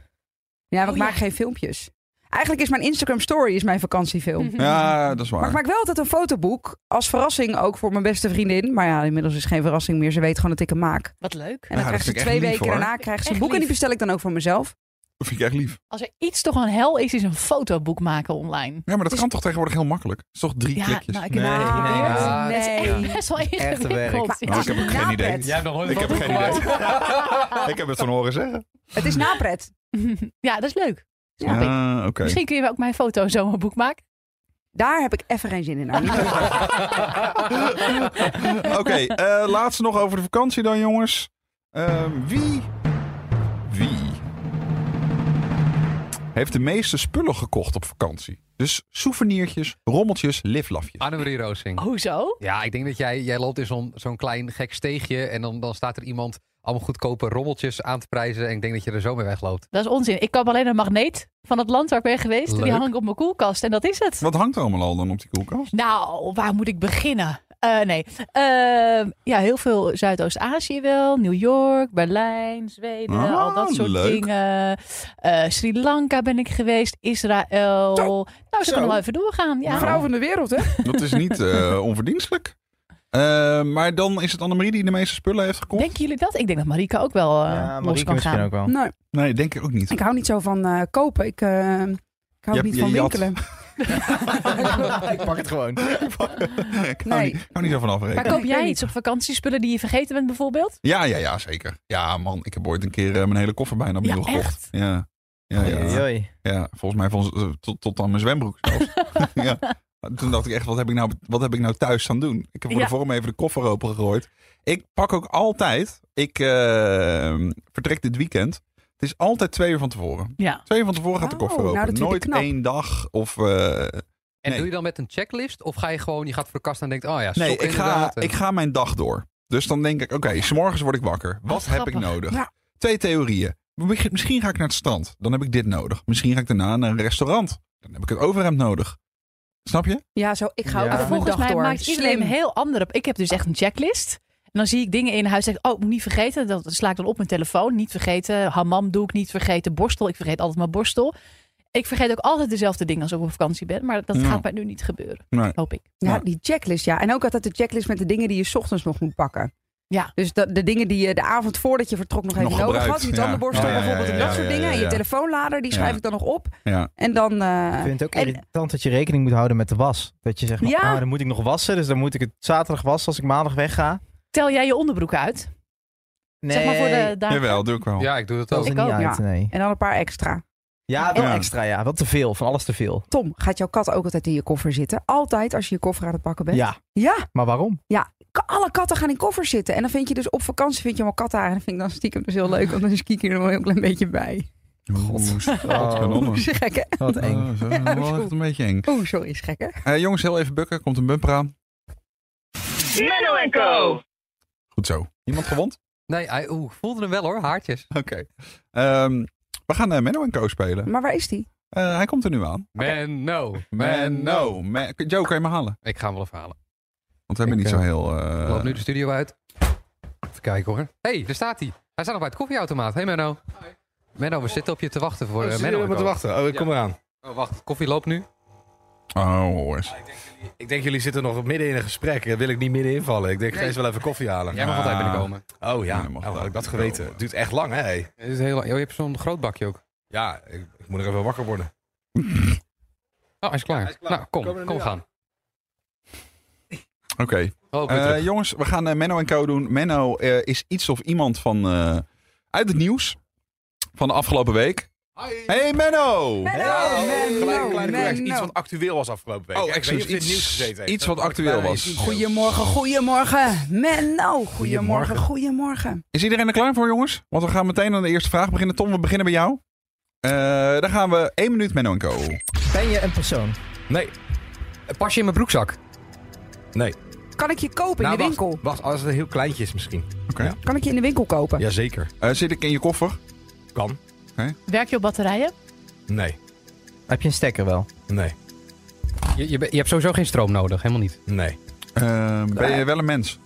Speaker 4: Ja, maar
Speaker 6: Oh,
Speaker 4: ik maak
Speaker 6: ja.
Speaker 4: geen filmpjes. Eigenlijk is mijn Instagram story is mijn vakantiefilm.
Speaker 3: Hm. Ja, dat is waar.
Speaker 4: Maar ik maak wel altijd een fotoboek als verrassing ook voor mijn beste vriendin. Maar ja, inmiddels is het geen verrassing meer. Ze weet gewoon dat ik hem maak.
Speaker 6: Wat leuk.
Speaker 4: En
Speaker 3: Ja,
Speaker 4: dan
Speaker 3: Nou, dat
Speaker 4: krijgt ze
Speaker 3: vind ik echt
Speaker 4: twee
Speaker 3: lief,
Speaker 4: weken
Speaker 3: hoor.
Speaker 4: daarna krijgt ze een
Speaker 6: Echt
Speaker 4: boek en die
Speaker 6: lief.
Speaker 4: bestel ik dan ook voor mezelf.
Speaker 3: Dat vind ik echt lief.
Speaker 6: Als er iets toch een hel is, is een fotoboek maken online.
Speaker 3: Ja, maar dat
Speaker 6: Het is-
Speaker 3: kan toch tegenwoordig heel makkelijk? Het is toch drie
Speaker 6: Dus- Ja,
Speaker 3: klikjes?
Speaker 6: nou, ik-
Speaker 7: Nee, nee,
Speaker 5: Ah,
Speaker 7: nee.
Speaker 5: Ja.
Speaker 6: Dat is echt best wel
Speaker 7: werk.
Speaker 6: ingewikkeld.
Speaker 4: Maar
Speaker 3: Nou,
Speaker 6: Ja.
Speaker 3: ik heb ook geen
Speaker 4: Ja,
Speaker 3: idee.
Speaker 4: Pet.
Speaker 5: Jij hebt nog nooit
Speaker 3: Ik heb geen
Speaker 5: fotoboek
Speaker 3: idee.
Speaker 5: gemaakt.
Speaker 3: Ik heb het van horen zeggen.
Speaker 4: Het is napret.
Speaker 6: Ja, dat is leuk. Snap ik.
Speaker 3: Ah, Oké.
Speaker 6: Misschien kun je ook mijn foto zo een boek maken.
Speaker 4: Daar heb ik even geen zin in. Arnie.
Speaker 3: Oké, eh, laatste nog over de vakantie dan, jongens. Ehm, wie? Wie? Heeft de meeste spullen gekocht op vakantie? Dus souvenirtjes, rommeltjes, liflafjes.
Speaker 5: Annemarie Roosing.
Speaker 6: Oh, zo?
Speaker 5: Ja, ik denk dat jij, jij loopt in zo'n zo'n klein gek steegje. En dan, dan staat er iemand allemaal goedkope rommeltjes aan te prijzen. En ik denk dat je er zo mee wegloopt.
Speaker 6: Dat is onzin. Ik koop alleen een magneet van het land waar ik ben geweest.
Speaker 5: Leuk.
Speaker 6: Die hang ik op mijn koelkast en dat is het.
Speaker 3: Wat hangt er allemaal al dan op die koelkast?
Speaker 6: Nou, waar moet ik beginnen? Eh, nee. Ehm, ja, heel veel Zuidoost-Azië wel. New York, Berlijn, Zweden,
Speaker 3: Ah,
Speaker 6: al dat soort
Speaker 3: leuk.
Speaker 6: dingen. Eh, Sri Lanka ben ik geweest, Israël.
Speaker 4: Zo.
Speaker 6: Nou, ze
Speaker 7: Zo.
Speaker 6: kunnen wel even doorgaan. Ja.
Speaker 4: Vrouw van de wereld, hè?
Speaker 3: Dat is niet eh, onverdienstelijk. Eh, maar dan is het Annemarie die de meeste spullen heeft gekocht?
Speaker 6: Denken jullie dat? Ik denk dat Marika ook wel eh,
Speaker 7: Ja,
Speaker 6: los
Speaker 7: Marieke
Speaker 6: kan
Speaker 7: misschien
Speaker 6: gaan.
Speaker 7: ook wel.
Speaker 4: Nee,
Speaker 3: Nee, denk ik ook niet.
Speaker 4: Nou, ik hou niet zo van eh, kopen. Ik, eh, ik hou
Speaker 3: Je-
Speaker 4: niet
Speaker 3: je
Speaker 4: van
Speaker 3: jat.
Speaker 4: winkelen.
Speaker 7: ik pak het gewoon.
Speaker 3: ik hou,
Speaker 4: Nee.
Speaker 3: niet, ik hou niet zo van afrekenen.
Speaker 6: Maar
Speaker 4: Ik
Speaker 6: koop
Speaker 4: weet
Speaker 6: jij
Speaker 4: niet.
Speaker 6: iets op vakantiespullen die je vergeten bent bijvoorbeeld?
Speaker 3: Ja, ja, ja, zeker. Ja, man, ik heb ooit een keer eh, mijn hele koffer bijna opnieuw
Speaker 6: Ja,
Speaker 3: gekocht.
Speaker 6: echt?
Speaker 3: Ja. Ja, ja,
Speaker 7: Oei,
Speaker 3: ja.
Speaker 7: oei.
Speaker 3: volgens mij van, eh, tot, tot aan mijn zwembroek zelfs. ja. Toen dacht ik echt, wat heb ik, nou, wat heb ik nou thuis aan doen? Ik heb voor
Speaker 6: Ja.
Speaker 3: de vorm even de koffer open gegooid. Ik pak ook altijd, ik eh, vertrek dit weekend. Het is altijd twee uur van tevoren.
Speaker 6: Ja.
Speaker 3: Twee uur van tevoren gaat de koffer
Speaker 4: Oh, nou,
Speaker 3: open.
Speaker 4: dat vind ik
Speaker 3: Nooit
Speaker 4: knap.
Speaker 3: één dag of... eh,
Speaker 5: En
Speaker 3: Nee.
Speaker 5: doe je dan met een checklist? Of ga je gewoon, je gaat voor de kast en denkt, oh ja, sok
Speaker 3: Nee, ik ga,
Speaker 5: inderdaad. En-
Speaker 3: ik ga mijn dag door. Dus dan denk ik, oké, 's s'morgens word ik wakker. Wat,
Speaker 6: Wat
Speaker 3: heb ik
Speaker 6: grappig.
Speaker 3: nodig?
Speaker 4: Ja.
Speaker 3: Twee theorieën. Misschien- Misschien ga ik naar het strand. Dan heb ik dit nodig. Misschien ga ik daarna naar een restaurant. Dan heb ik het overhemd nodig. Snap je?
Speaker 4: Ja, zo, ik ga
Speaker 7: Ja.
Speaker 4: ook
Speaker 7: Maar
Speaker 4: echt mijn
Speaker 6: Volgens
Speaker 4: dag
Speaker 6: mij
Speaker 4: door.
Speaker 6: maakt iedereen
Speaker 4: Slim.
Speaker 6: een heel andere... Ik heb dus echt een checklist. En dan zie ik dingen in huis. Zeg, ik, oh, ik moet niet vergeten. Dat sla ik dan op mijn telefoon. Niet vergeten. Hamam doe ik niet vergeten. Borstel. Ik vergeet altijd mijn borstel. Ik vergeet ook altijd dezelfde dingen als ik op vakantie ben. Maar dat
Speaker 3: Ja.
Speaker 6: gaat mij nu niet gebeuren.
Speaker 3: Nee.
Speaker 6: Hoop ik.
Speaker 4: Ja,
Speaker 3: Ja.
Speaker 4: die checklist, ja. En ook altijd de checklist met de dingen die je 's ochtends nog moet pakken.
Speaker 6: Ja.
Speaker 4: Dus dat, de dingen die je de avond voordat je vertrok nog even
Speaker 3: Nog
Speaker 4: nodig
Speaker 3: gebruikt,
Speaker 4: had. Je
Speaker 3: ja.
Speaker 4: tandenborstel
Speaker 3: Ja, ja, ja,
Speaker 4: bijvoorbeeld en
Speaker 3: ja,
Speaker 4: dat soort
Speaker 3: ja,
Speaker 4: dingen.
Speaker 3: ja,
Speaker 4: En je
Speaker 3: ja.
Speaker 4: telefoonlader, die
Speaker 3: Ja.
Speaker 4: schrijf ik dan nog op.
Speaker 3: Ja.
Speaker 4: En dan... eh,
Speaker 7: Ik vind het ook
Speaker 4: en-
Speaker 7: irritant dat je rekening moet houden met de was. Dat je zegt, van,
Speaker 4: Ja.
Speaker 7: ah, dan moet ik nog wassen. Dus dan moet ik het zaterdag wassen als ik maandag wegga.
Speaker 6: Tel jij je onderbroek uit?
Speaker 7: Nee.
Speaker 6: Zeg maar voor de dagen.
Speaker 3: Jawel, doe ik wel.
Speaker 5: Ja, ik doe dat
Speaker 7: Dat
Speaker 5: ook.
Speaker 7: is er
Speaker 6: Ik
Speaker 7: niet
Speaker 6: ook,
Speaker 7: uit,
Speaker 4: ja.
Speaker 7: nee.
Speaker 4: en dan een paar extra.
Speaker 7: Ja, wel
Speaker 3: Ja.
Speaker 7: extra, ja. Wel te veel. Van alles te veel.
Speaker 4: Tom, gaat jouw kat ook altijd in je koffer zitten? Altijd als je je koffer aan het pakken bent?
Speaker 7: Ja,
Speaker 4: Ja,
Speaker 7: maar waarom?
Speaker 4: ka- alle katten gaan in koffers zitten. En dan vind je dus op vakantie vind je allemaal kattenharen. Dat vind ik dan stiekem dus heel leuk, want dan is Kiki er wel een heel klein beetje bij.
Speaker 3: God.
Speaker 4: Oeh, is gek hè?
Speaker 7: Wat eng.
Speaker 3: dat
Speaker 4: Ja,
Speaker 3: is Oh, wel
Speaker 4: zo.
Speaker 3: echt een beetje eng.
Speaker 4: Oeh, sorry, is gek hè?
Speaker 3: Eh, jongens, heel even bukken. Komt een bumper aan. Goed zo. Iemand gewond?
Speaker 5: Nee, hij, oeh, ik voelde hem wel hoor, haartjes.
Speaker 3: Oké. Ehm, we gaan eh, Menno en Co spelen.
Speaker 4: Maar waar is die?
Speaker 3: Eh, hij komt er nu aan.
Speaker 5: Man, no.
Speaker 3: Menno. Men- Joe, kan je me halen?
Speaker 5: Ik ga hem wel even halen.
Speaker 3: Want we hebben
Speaker 5: Ik,
Speaker 3: niet
Speaker 5: eh,
Speaker 3: zo heel...
Speaker 5: Ik
Speaker 3: eh,
Speaker 5: loop nu
Speaker 8: dus-
Speaker 5: de studio uit. Even kijken hoor. Hé, hey, daar staat hij. Hij staat nog bij het koffieautomaat. Hé hey, Menno. Menno, we zitten op je te wachten
Speaker 8: Oh,
Speaker 5: voor eh, Menno. en Co.
Speaker 8: wachten. Oh, ik kom eraan.
Speaker 5: Oh, wacht. Koffie loopt nu.
Speaker 3: Oh, hoor eens.
Speaker 8: Ik denk, jullie zitten nog midden in een gesprek. Daar wil ik niet midden invallen. Ik denk, ik ga eens wel even koffie halen.
Speaker 5: Jij mag altijd binnenkomen.
Speaker 8: Oh ja,
Speaker 3: Nee, mag
Speaker 8: Oh, had
Speaker 3: wel.
Speaker 8: ik dat geweten. Het duurt echt lang, hè? hey.
Speaker 5: Het is heel, oh, je hebt zo'n groot bakje ook.
Speaker 8: Ja, ik, ik moet nog even wakker worden.
Speaker 5: Oh, hij is klaar. Nou, kom.
Speaker 8: Komen we
Speaker 5: Kom,
Speaker 8: er nu
Speaker 5: gaan.
Speaker 3: Oké.
Speaker 5: Oh, ik
Speaker 3: Eh,
Speaker 5: ben terug.
Speaker 3: jongens, we gaan eh, Menno en Co doen. Menno eh, is iets of iemand van eh, uit het nieuws van de afgelopen week. Hey Menno!
Speaker 8: Ja, oh,
Speaker 4: Menno,
Speaker 8: kleine-
Speaker 4: Menno,
Speaker 8: kleine correctie.
Speaker 4: Menno.
Speaker 8: Iets wat actueel was afgelopen week.
Speaker 3: Oh,
Speaker 8: Ik weet
Speaker 3: excuus.
Speaker 8: niet of dit
Speaker 3: Iets-
Speaker 8: nieuws gezeten heeft.
Speaker 3: iets wat
Speaker 8: Dat-
Speaker 3: actueel
Speaker 8: Nee,
Speaker 3: was.
Speaker 8: iets-
Speaker 4: Goedemorgen, goedemorgen. Menno, goedemorgen, goedemorgen.
Speaker 3: Is iedereen er klaar voor, jongens? Want we gaan meteen aan de eerste vraag beginnen. Tom, we beginnen bij jou. Eh dan gaan we één minuut Menno en Co.
Speaker 7: Ben je een persoon?
Speaker 8: Nee,
Speaker 5: Eh, Pas je in mijn broekzak?
Speaker 8: nee.
Speaker 4: Kan ik je kopen in
Speaker 8: Nou,
Speaker 4: de
Speaker 8: wacht,
Speaker 4: winkel?
Speaker 8: Wacht, als het een heel kleintje is misschien.
Speaker 3: Oké.
Speaker 8: Ja.
Speaker 4: Kan ik je in de winkel kopen?
Speaker 8: Jazeker.
Speaker 3: Eh, zit ik in je koffer?
Speaker 8: Kan.
Speaker 6: Werk je op batterijen?
Speaker 8: Nee,
Speaker 7: Heb je een stekker wel?
Speaker 8: nee,
Speaker 5: Je, je, be- je hebt sowieso geen stroom nodig. Helemaal niet.
Speaker 8: nee.
Speaker 3: Eh, ben je wel een mens?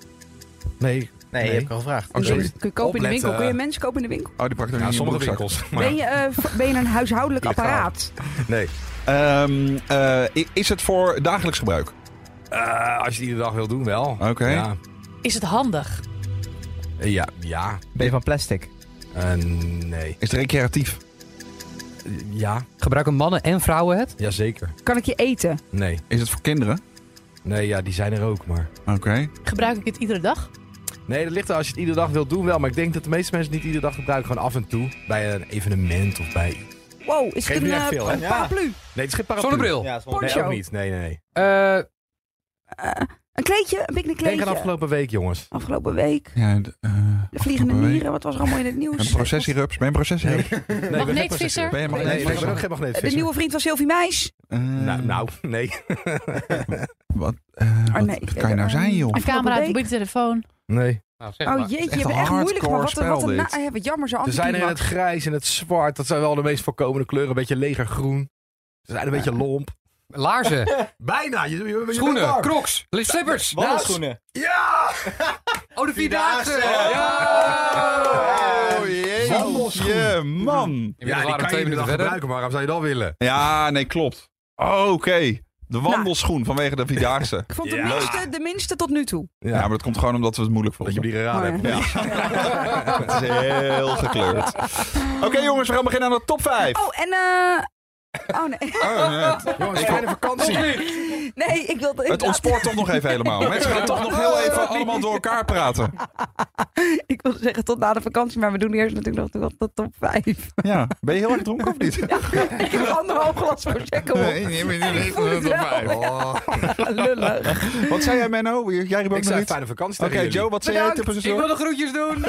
Speaker 8: Nee.
Speaker 7: Nee,
Speaker 8: Nee.
Speaker 7: heb ik al gevraagd.
Speaker 8: Oh, sorry.
Speaker 4: Kun je kopen in de
Speaker 8: Opletten,
Speaker 4: winkel? Kun je
Speaker 8: eh.
Speaker 4: mensen kopen in de winkel?
Speaker 3: Oh, die pakt er
Speaker 8: Ja,
Speaker 3: in je
Speaker 8: sommige
Speaker 3: broekzak.
Speaker 8: winkels.
Speaker 4: Ben
Speaker 8: Maar,
Speaker 4: je, eh, v- ben je een huishoudelijk
Speaker 8: Illegaal.
Speaker 4: apparaat?
Speaker 8: nee.
Speaker 3: Ehm, eh, i- is het voor dagelijks gebruik?
Speaker 8: Eh, als je het iedere dag wil doen, wel.
Speaker 3: Oké.
Speaker 8: Ja, Eh,
Speaker 6: Is het handig?
Speaker 8: ja. ja.
Speaker 7: Ben je van plastic?
Speaker 8: Eh, nee.
Speaker 3: Is het recreatief?
Speaker 8: Ja,
Speaker 5: Gebruiken mannen en vrouwen het?
Speaker 8: jazeker.
Speaker 4: Kan ik je eten?
Speaker 8: Nee.
Speaker 3: Is het voor kinderen?
Speaker 8: Nee, ja, die zijn er ook, maar...
Speaker 3: Oké.
Speaker 6: Gebruik ik het iedere dag?
Speaker 8: Nee, dat ligt er als je het iedere dag wilt doen wel. Maar ik denk dat de meeste mensen het niet iedere dag gebruiken. Gewoon af en toe. Bij een evenement of bij...
Speaker 4: Wow, is het
Speaker 8: Geef
Speaker 4: een,
Speaker 8: niet echt
Speaker 4: eh,
Speaker 8: veel, hè?
Speaker 4: een
Speaker 8: Ja.
Speaker 4: paraplu?
Speaker 8: Nee, het is geen paraplu.
Speaker 5: Zonnebril.
Speaker 7: Ja,
Speaker 8: Nee,
Speaker 4: Poncho.
Speaker 8: ook niet. Nee, nee, nee.
Speaker 5: Eh,
Speaker 4: Eh, een kleedje? Een
Speaker 8: Denk
Speaker 4: picknickkleedje?
Speaker 8: aan afgelopen week, jongens.
Speaker 4: Afgelopen week.
Speaker 3: Ja, d- eh,
Speaker 4: De vliegende
Speaker 3: afgelopen week.
Speaker 4: mieren, wat was er allemaal in het nieuws?
Speaker 3: Een processierups. Ben je een processierups?
Speaker 8: Nee, ik ben geen
Speaker 6: Magneetvisser?
Speaker 3: Ben je
Speaker 8: Nee,
Speaker 3: mag
Speaker 8: nee, ik ben ook geen
Speaker 4: Eh, De
Speaker 8: magneetvisser.
Speaker 4: nieuwe vriend van Sylvie Meis.
Speaker 3: Eh,
Speaker 8: Nou, nou, nee.
Speaker 3: Wat, eh,
Speaker 4: Ah,
Speaker 3: wat
Speaker 4: nee,
Speaker 3: wat kan je nou
Speaker 4: eh,
Speaker 3: zijn, joh?
Speaker 6: Een
Speaker 4: Afgelopen
Speaker 6: camera op je
Speaker 4: week.
Speaker 6: telefoon?
Speaker 8: Nee.
Speaker 5: nou, zeg maar.
Speaker 4: Oh jeetje, je
Speaker 3: echt
Speaker 4: bent
Speaker 3: een
Speaker 4: echt moeilijk. Maar wat, een-
Speaker 3: hardcore
Speaker 4: wat een na-
Speaker 3: spel,
Speaker 4: eh, wat jammer, zo
Speaker 8: Ze zijn er in het
Speaker 4: anticlimax.
Speaker 8: grijs en het zwart. Dat zijn wel de meest voorkomende kleuren. Een beetje legergroen. Ze zijn een beetje lomp.
Speaker 5: Laarzen,
Speaker 8: Bijna. Je, je- je bent
Speaker 5: schoenen,
Speaker 8: bang.
Speaker 5: crocs, li- slippers.
Speaker 7: oh, Wallenschoenen.
Speaker 8: Ja!
Speaker 5: Oh, de Vierdaagse.
Speaker 8: Vierdaagse.
Speaker 5: Ja!
Speaker 3: Oh,
Speaker 8: Wandelschoen.
Speaker 3: jeetje, man.
Speaker 8: Ja,
Speaker 5: Inmiddels
Speaker 8: die
Speaker 5: waren we
Speaker 8: kan je
Speaker 5: twee
Speaker 8: iedere
Speaker 5: minuten
Speaker 8: dag
Speaker 5: verder.
Speaker 8: gebruiken, maar waarom zou je dat willen?
Speaker 3: Ja, nee, klopt. Oh, Oké.
Speaker 4: Nou.
Speaker 3: De wandelschoen vanwege de Vierdaagse.
Speaker 4: Ik vond de,
Speaker 8: Ja.
Speaker 4: minste, de minste tot nu toe.
Speaker 3: Ja, maar dat komt gewoon omdat we het moeilijk
Speaker 8: Dat je
Speaker 3: vonden.
Speaker 8: hem niet geraden
Speaker 4: Maar-
Speaker 8: hebt.
Speaker 3: Ja. Het is heel gekleurd. Oké, jongens, we gaan beginnen aan de top 5.
Speaker 4: Oh, en... eh Oh nee,
Speaker 8: Jongens, fijne vakantie.
Speaker 4: nee ik wilde... ik
Speaker 3: Het
Speaker 4: dacht-
Speaker 3: ontspoort toch nog even helemaal. Mensen gaan toch nog heel even allemaal door elkaar praten.
Speaker 4: Ik wilde zeggen tot na de vakantie, maar we doen eerst natuurlijk nog de top 5.
Speaker 3: Ja, ben je heel erg dronken of niet?
Speaker 4: ik heb anderhalf glas voor checken op.
Speaker 3: nee, nee, nee, nee.
Speaker 4: voel het wel.
Speaker 8: Oh.
Speaker 4: Lullig.
Speaker 3: Wat zei jij, Menno? Jij riep ook
Speaker 8: Ik
Speaker 3: nog
Speaker 8: zei
Speaker 3: niet?
Speaker 8: fijne vakantie
Speaker 3: Oké,
Speaker 8: tegen jullie.
Speaker 3: Joe, wat zei jij?
Speaker 4: Bedankt.
Speaker 3: Tippen
Speaker 5: Ik wil de groetjes doen.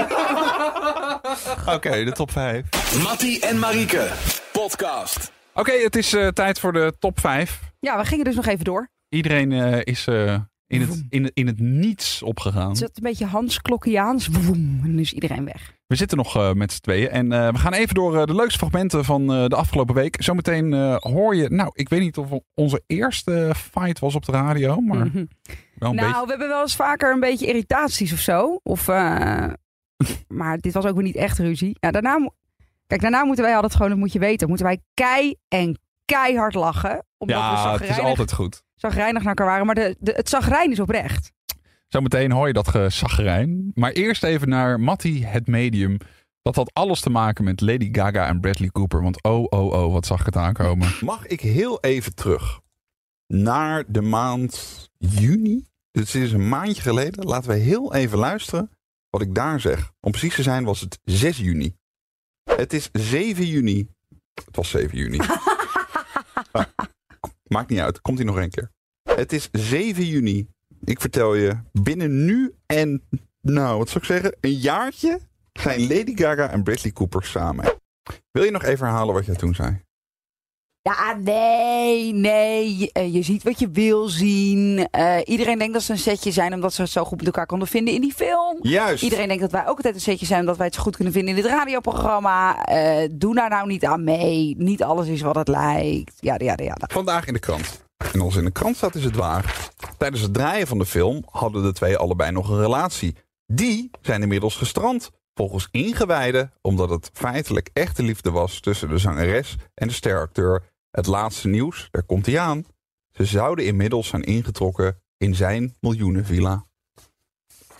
Speaker 3: Oké, de top 5.
Speaker 9: Mattie en Marieke, podcast.
Speaker 3: Oké, het is eh, tijd voor de top 5.
Speaker 4: Ja, we gingen dus nog even door.
Speaker 3: Iedereen eh, is eh, in, het, in, het- in het niets opgegaan.
Speaker 4: Het zat een beetje Hans Klokkiaans. Woem, en nu is iedereen weg.
Speaker 3: We zitten nog eh, met z'n tweeën. En eh, we gaan even door eh, de leukste fragmenten van eh, de afgelopen week. Zometeen eh, hoor je... Nou, ik weet niet of onze eerste fight was op de radio. Maar
Speaker 4: Mhm.
Speaker 3: wel
Speaker 4: Nou,
Speaker 3: een beetje.
Speaker 4: we hebben wel eens vaker een beetje irritaties of zo. Of, eh, maar dit was ook weer niet echt ruzie. Ja, daarna, mo- kijk, daarna moeten wij altijd gewoon, dat moet je weten, moeten wij kei en keihard lachen. Omdat
Speaker 3: Ja,
Speaker 4: we
Speaker 3: het is
Speaker 4: zagrijnig,
Speaker 3: altijd goed.
Speaker 4: zagrijnig naar elkaar waren. Maar de, de, het zagrijn is oprecht.
Speaker 3: Zometeen hoor je dat gezaggerijn. Maar eerst even naar Matty, het medium. Dat had alles te maken met Lady Gaga en Bradley Cooper. Want oh, oh, oh, wat zag ik het aankomen.
Speaker 10: Mag ik heel even terug naar de maand juni? Dus het is een maandje geleden. Laten we heel even luisteren wat ik daar zeg. Om precies te zijn was het 6 juni. Het is 7 juni. Het was 7 juni. Ah, Maar, maakt niet uit. Komt hij nog een keer. Het is 7 juni.
Speaker 3: Ik vertel je, binnen nu en, nou, wat zou ik zeggen, een jaartje zijn Lady Gaga en Bradley Cooper samen. Wil je nog even herhalen wat jij toen zei?
Speaker 4: Ja, nee, nee. Je, eh, je ziet wat je wil zien. Eh, iedereen denkt dat ze een setje zijn omdat ze het zo goed met elkaar konden vinden in die film.
Speaker 3: Juist.
Speaker 4: Iedereen denkt dat wij ook altijd een setje zijn omdat wij het zo goed kunnen vinden in dit radioprogramma. Eh, doe daar nou niet aan mee. Niet alles is wat het lijkt. Ja, ja, ja.
Speaker 3: Vandaag in de krant. En als in de krant staat is het waar. Tijdens het draaien van de film hadden de twee allebei nog een relatie. Die zijn inmiddels gestrand. Volgens ingewijden omdat het feitelijk echte liefde was tussen de zangeres en de steracteur. Het laatste nieuws, daar komt hij aan. Ze zouden inmiddels zijn ingetrokken in zijn miljoenenvilla.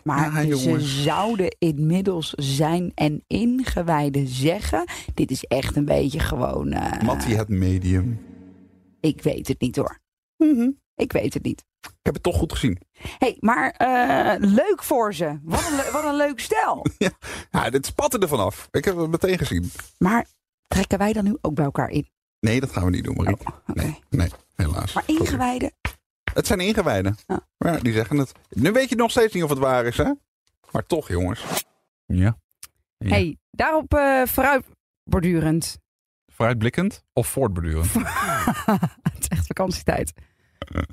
Speaker 4: Maar ze zouden inmiddels zijn en ingewijden zeggen. Dit is echt een beetje gewoon. eh,
Speaker 3: Mattie het medium.
Speaker 4: ik weet het niet hoor. Ik weet het niet.
Speaker 3: Ik heb het toch goed gezien.
Speaker 4: hey, maar eh, leuk voor ze. Wat een, le- wat een leuk stel.
Speaker 3: Ja, dit spatte er vanaf. Ik heb het meteen gezien.
Speaker 4: Maar trekken wij dan nu ook bij elkaar in?
Speaker 3: Nee, dat gaan we niet doen, Marieke. Nee, nee, helaas.
Speaker 4: Maar ingewijden.
Speaker 3: Het zijn ingewijden. Ja, die zeggen het. Nu weet je nog steeds niet of het waar is, hè? Maar toch, jongens. Ja. Ja.
Speaker 4: hey, daarop eh vooruitbordurend.
Speaker 11: Vooruitblikkend of voortbordurend?
Speaker 4: Het is echt vakantietijd.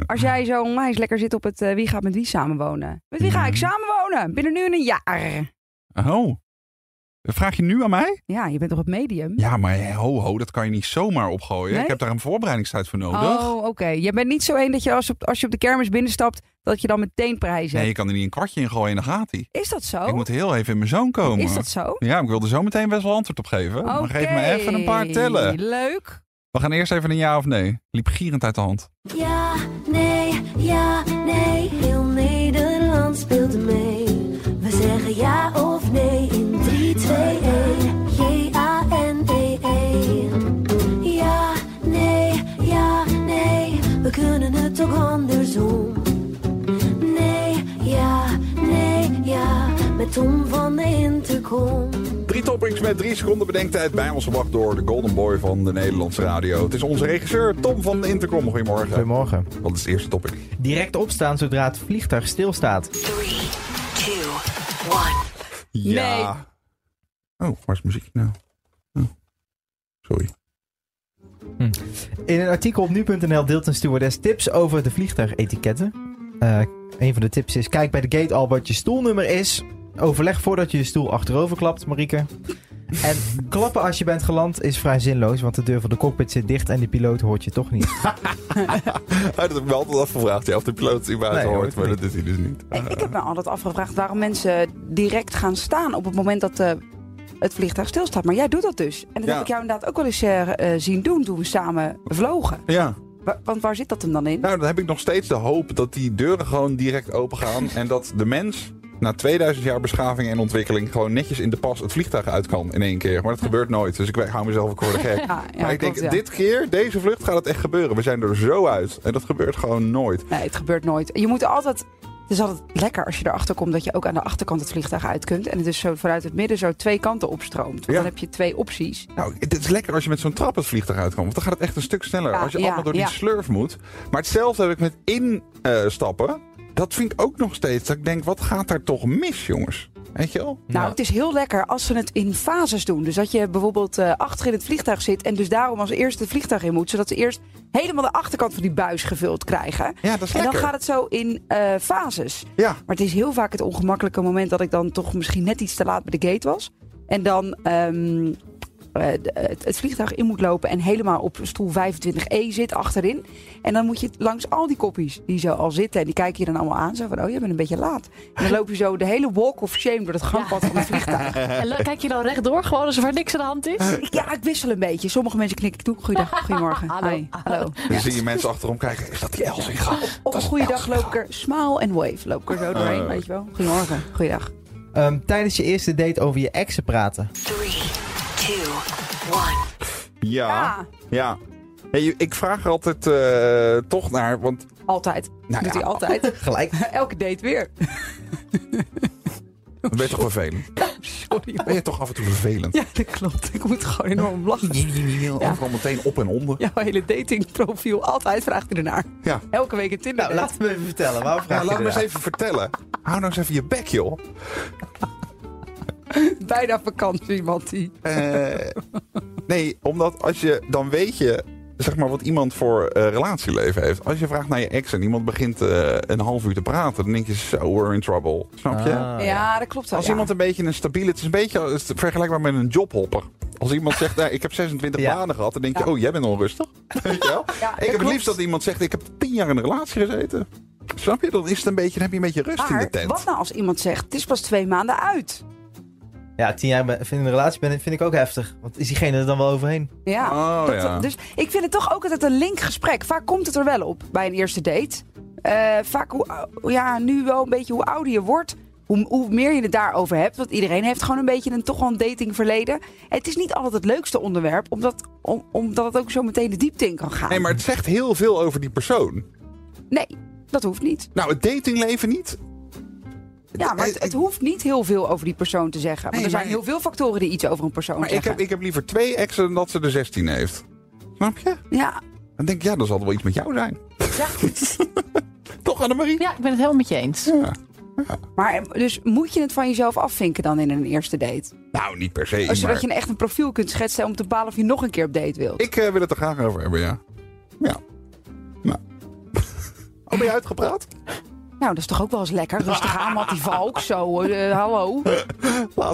Speaker 4: Als jij zo onwijs lekker zit op het eh, wie gaat met wie samenwonen. Met wie ga ik samenwonen? Binnen nu en een jaar.
Speaker 11: Oh. Vraag je nu aan mij?
Speaker 4: Ja, je bent toch het medium?
Speaker 11: Ja, maar hé, ho, ho, dat kan je niet zomaar opgooien.
Speaker 4: Nee?
Speaker 11: Ik heb daar een voorbereidingstijd voor nodig.
Speaker 4: Oh, oké. Je bent niet zo een dat je als, op, als je op de kermis binnenstapt, dat je dan meteen prijzen
Speaker 11: Nee, je
Speaker 4: hebt.
Speaker 11: kan er niet een kwartje in gooien en dan gaat hij.
Speaker 4: Is dat zo?
Speaker 11: Ik moet heel even in mijn zoon komen.
Speaker 4: Oh. Is dat zo?
Speaker 11: Ja, ik wilde zo meteen best wel antwoord op geven. Maar geef me even een paar
Speaker 4: Oké,
Speaker 11: tellen.
Speaker 4: Leuk.
Speaker 11: We gaan eerst even een ja of nee. Liep gierend uit de hand.
Speaker 12: Ja, nee, ja, nee, heel Nederland speelt mee. We zeggen ja of nee in 3, 2, 1. J-A-N-E-E. E Ja, nee, ja, nee, we kunnen het ook andersom. Nee, ja, nee, ja, met Tom van de Intercom.
Speaker 3: Drie toppings met drie seconden bedenktijd. Bij ons gebracht door de Golden Boy van de Nederlandse radio. Het is onze regisseur Tom van de Intercom. Goedemorgen.
Speaker 7: Goedemorgen.
Speaker 3: Wat is het eerste topic?
Speaker 7: Direct opstaan zodra het vliegtuig stilstaat.
Speaker 12: 2, 1.
Speaker 3: Ja. Oh, waar is muziek nou?
Speaker 11: Oh.
Speaker 7: In een artikel op nu.nl deelt een stewardess tips over de vliegtuigetiketten. Eh, een van de tips is: kijk bij de gate al wat je stoelnummer is. Overleg voordat je je stoel achterover klapt, Marieke. En klappen als je bent geland is vrij zinloos, want de deur van de cockpit zit dicht en de piloot hoort je toch niet.
Speaker 3: Ah, dat heb ik me altijd afgevraagd. Ja, of de piloot überhaupt
Speaker 7: Nee,
Speaker 3: hoort,
Speaker 7: hoort
Speaker 3: maar dat is hij dus niet.
Speaker 4: Ik heb me
Speaker 11: Eh.
Speaker 4: altijd afgevraagd waarom mensen direct gaan staan op het moment dat eh, het vliegtuig stilstaat. Maar jij doet dat dus. En dat
Speaker 3: Ja.
Speaker 4: heb ik jou inderdaad ook wel eens eh, eh, zien doen toen we samen vlogen.
Speaker 3: Ja.
Speaker 4: Wa- want waar zit dat hem dan in?
Speaker 3: Nou, dan heb ik nog steeds de hoop dat die deuren gewoon direct open gaan. en dat de mens na 2000 jaar beschaving en ontwikkeling gewoon netjes in de pas het vliegtuig uit kan in één keer. Maar dat gebeurt nooit. Dus ik hou mezelf ook voor de gek.
Speaker 4: Ah, ja,
Speaker 3: maar ik denk,
Speaker 4: klopt, ja.
Speaker 3: dit keer, deze vlucht gaat het echt gebeuren. We zijn er zo uit. En dat gebeurt gewoon nooit.
Speaker 4: Nee, het gebeurt nooit. Je moet altijd. Het is altijd lekker als je erachter komt dat je ook aan de achterkant het vliegtuig uit kunt. En het dus zo vanuit het midden zo twee kanten opstroomt. Want Dan heb je twee opties.
Speaker 3: Nou, het is lekker als je met zo'n trap het vliegtuig uitkomt. Want dan gaat het echt een stuk sneller.
Speaker 4: Ja,
Speaker 3: als je
Speaker 4: ja,
Speaker 3: allemaal door die
Speaker 4: ja.
Speaker 3: slurf moet. Maar hetzelfde heb ik met instappen. dat vind ik ook nog steeds. Dat ik denk, wat gaat daar toch mis, jongens? Weet je wel?
Speaker 4: Nou, het is heel lekker als ze het in fases doen. Dus dat je bijvoorbeeld eh, achter in het vliegtuig zit en dus daarom als eerste het vliegtuig in moet. Zodat ze eerst helemaal de achterkant van die buis gevuld krijgen.
Speaker 3: Ja, dat is
Speaker 4: en dan
Speaker 3: lekker.
Speaker 4: gaat het zo in eh, fases.
Speaker 3: Ja.
Speaker 4: Maar het is heel vaak het ongemakkelijke moment dat ik dan toch misschien net iets te laat bij de gate was. En dan ehm, eh, de- het, het vliegtuig in moet lopen en helemaal op stoel 25E zit achterin. En dan moet je langs al die koppies die zo al zitten. En die kijken je dan allemaal aan. Zo van, oh, je bent een beetje laat. En dan loop je zo de hele walk of shame door het gangpad van het vliegtuig.
Speaker 6: En dan kijk je dan rechtdoor, gewoon alsof er niks aan de hand is?
Speaker 4: Ja, ik wissel een beetje. Sommige mensen knik ik toe. Goeiedag, goedemorgen. Hallo. Hallo.
Speaker 3: Dan zie je mensen achterom kijken. Is dat die Elsinga?
Speaker 4: Op een goede dag loop ik er smile en wave. Loop ik er zo doorheen, weet je wel. Goedemorgen, goeiedag.
Speaker 7: Ehm, tijdens je eerste date over je exen praten.
Speaker 3: Ja. Ja. Hey, je- ik vraag er altijd eh, toch naar, want...
Speaker 4: Altijd.
Speaker 3: Nou
Speaker 4: Doet
Speaker 3: ja.
Speaker 4: hij altijd.
Speaker 7: Gelijk.
Speaker 4: Elke date weer.
Speaker 3: Dat ben je toch vervelend?
Speaker 4: sorry.
Speaker 10: Ben je toch af en toe vervelend?
Speaker 4: Ja, dat klopt. Ik moet gewoon enorm lachen. Ja.
Speaker 10: Overal meteen op en onder.
Speaker 4: Jouw hele datingprofiel, altijd vraagt hij ernaar.
Speaker 10: Ja.
Speaker 4: Elke week een Tinder.
Speaker 7: Nou, laat me even vertellen. Waarom vraag
Speaker 10: Ja,
Speaker 7: je
Speaker 10: laat me eens
Speaker 7: ernaar?
Speaker 10: even vertellen. Hou nou eens even je bek, joh.
Speaker 4: Bijna vakantie, Mattie.
Speaker 10: Eh, nee, omdat als je, dan weet je zeg maar, wat iemand voor eh, relatieleven heeft. Als je vraagt naar je ex en iemand begint eh, een half uur te praten, dan denk je, zo, we're in trouble. Snap je?
Speaker 7: Ah.
Speaker 4: ja. dat klopt wel.
Speaker 10: Oh, Als
Speaker 4: ja.
Speaker 10: iemand een beetje een stabiele... Het is een beetje als- vergelijkbaar met een jobhopper. Als iemand zegt, nou, ik heb 26 banen gehad, dan denk je, oh, jij bent onrustig. Weet je wel?
Speaker 4: Ja,
Speaker 10: ik heb het liefst dat iemand zegt, ik heb 10 jaar in een relatie gezeten. Snap je? Dan, is het een beetje, dan heb je een beetje rust in de
Speaker 4: Maar
Speaker 10: tent.
Speaker 4: wat nou als iemand zegt, het is pas twee maanden uit?
Speaker 7: Ja, tien jaar met- in een relatie ben, vind ik ook heftig. Want is diegene er dan wel overheen?
Speaker 4: Ja.
Speaker 7: Oh,
Speaker 4: dat-
Speaker 7: ja.
Speaker 4: Dus ik vind het toch ook altijd een link gesprek. Vaak komt het er wel op bij een eerste date. Eh, vaak, hoe, ou- ja, nu wel een beetje hoe ouder je wordt, hoe, hoe meer je het daarover hebt. Want iedereen heeft gewoon een beetje een toch wel een datingverleden. Het is niet altijd het leukste onderwerp, omdat, om- omdat het ook zo meteen de diepte in kan gaan.
Speaker 10: Nee, maar het zegt heel veel over die persoon.
Speaker 4: Nee, dat hoeft niet.
Speaker 10: Nou, het datingleven niet.
Speaker 4: Ja, maar het, het hoeft niet heel veel over die persoon te zeggen. Want
Speaker 10: Nee,
Speaker 4: er zijn
Speaker 10: maar-
Speaker 4: heel veel factoren die iets over een persoon
Speaker 10: Maar ik
Speaker 4: zeggen.
Speaker 10: heb, ik heb liever twee exen dan dat ze er 16 heeft. Snap je?
Speaker 4: Ja.
Speaker 10: Dan denk ik, ja, dan zal er wel iets met jou zijn. Toch, Annemarie?
Speaker 6: Ja, ik ben het helemaal met je eens.
Speaker 4: Maar dus moet je het van jezelf afvinken dan in een eerste date?
Speaker 10: Nou, niet per se.
Speaker 4: Zodat
Speaker 10: maar
Speaker 4: je echt een profiel kunt schetsen om te bepalen of je nog een keer op date wilt.
Speaker 10: Ik eh, wil het er graag over hebben, ja. Ja. Nou.
Speaker 4: Oh,
Speaker 10: Al ben je uitgepraat?
Speaker 4: Nou, dat is toch ook wel eens lekker. Rustig aan, Mattie Valk. Zo, eh, hallo.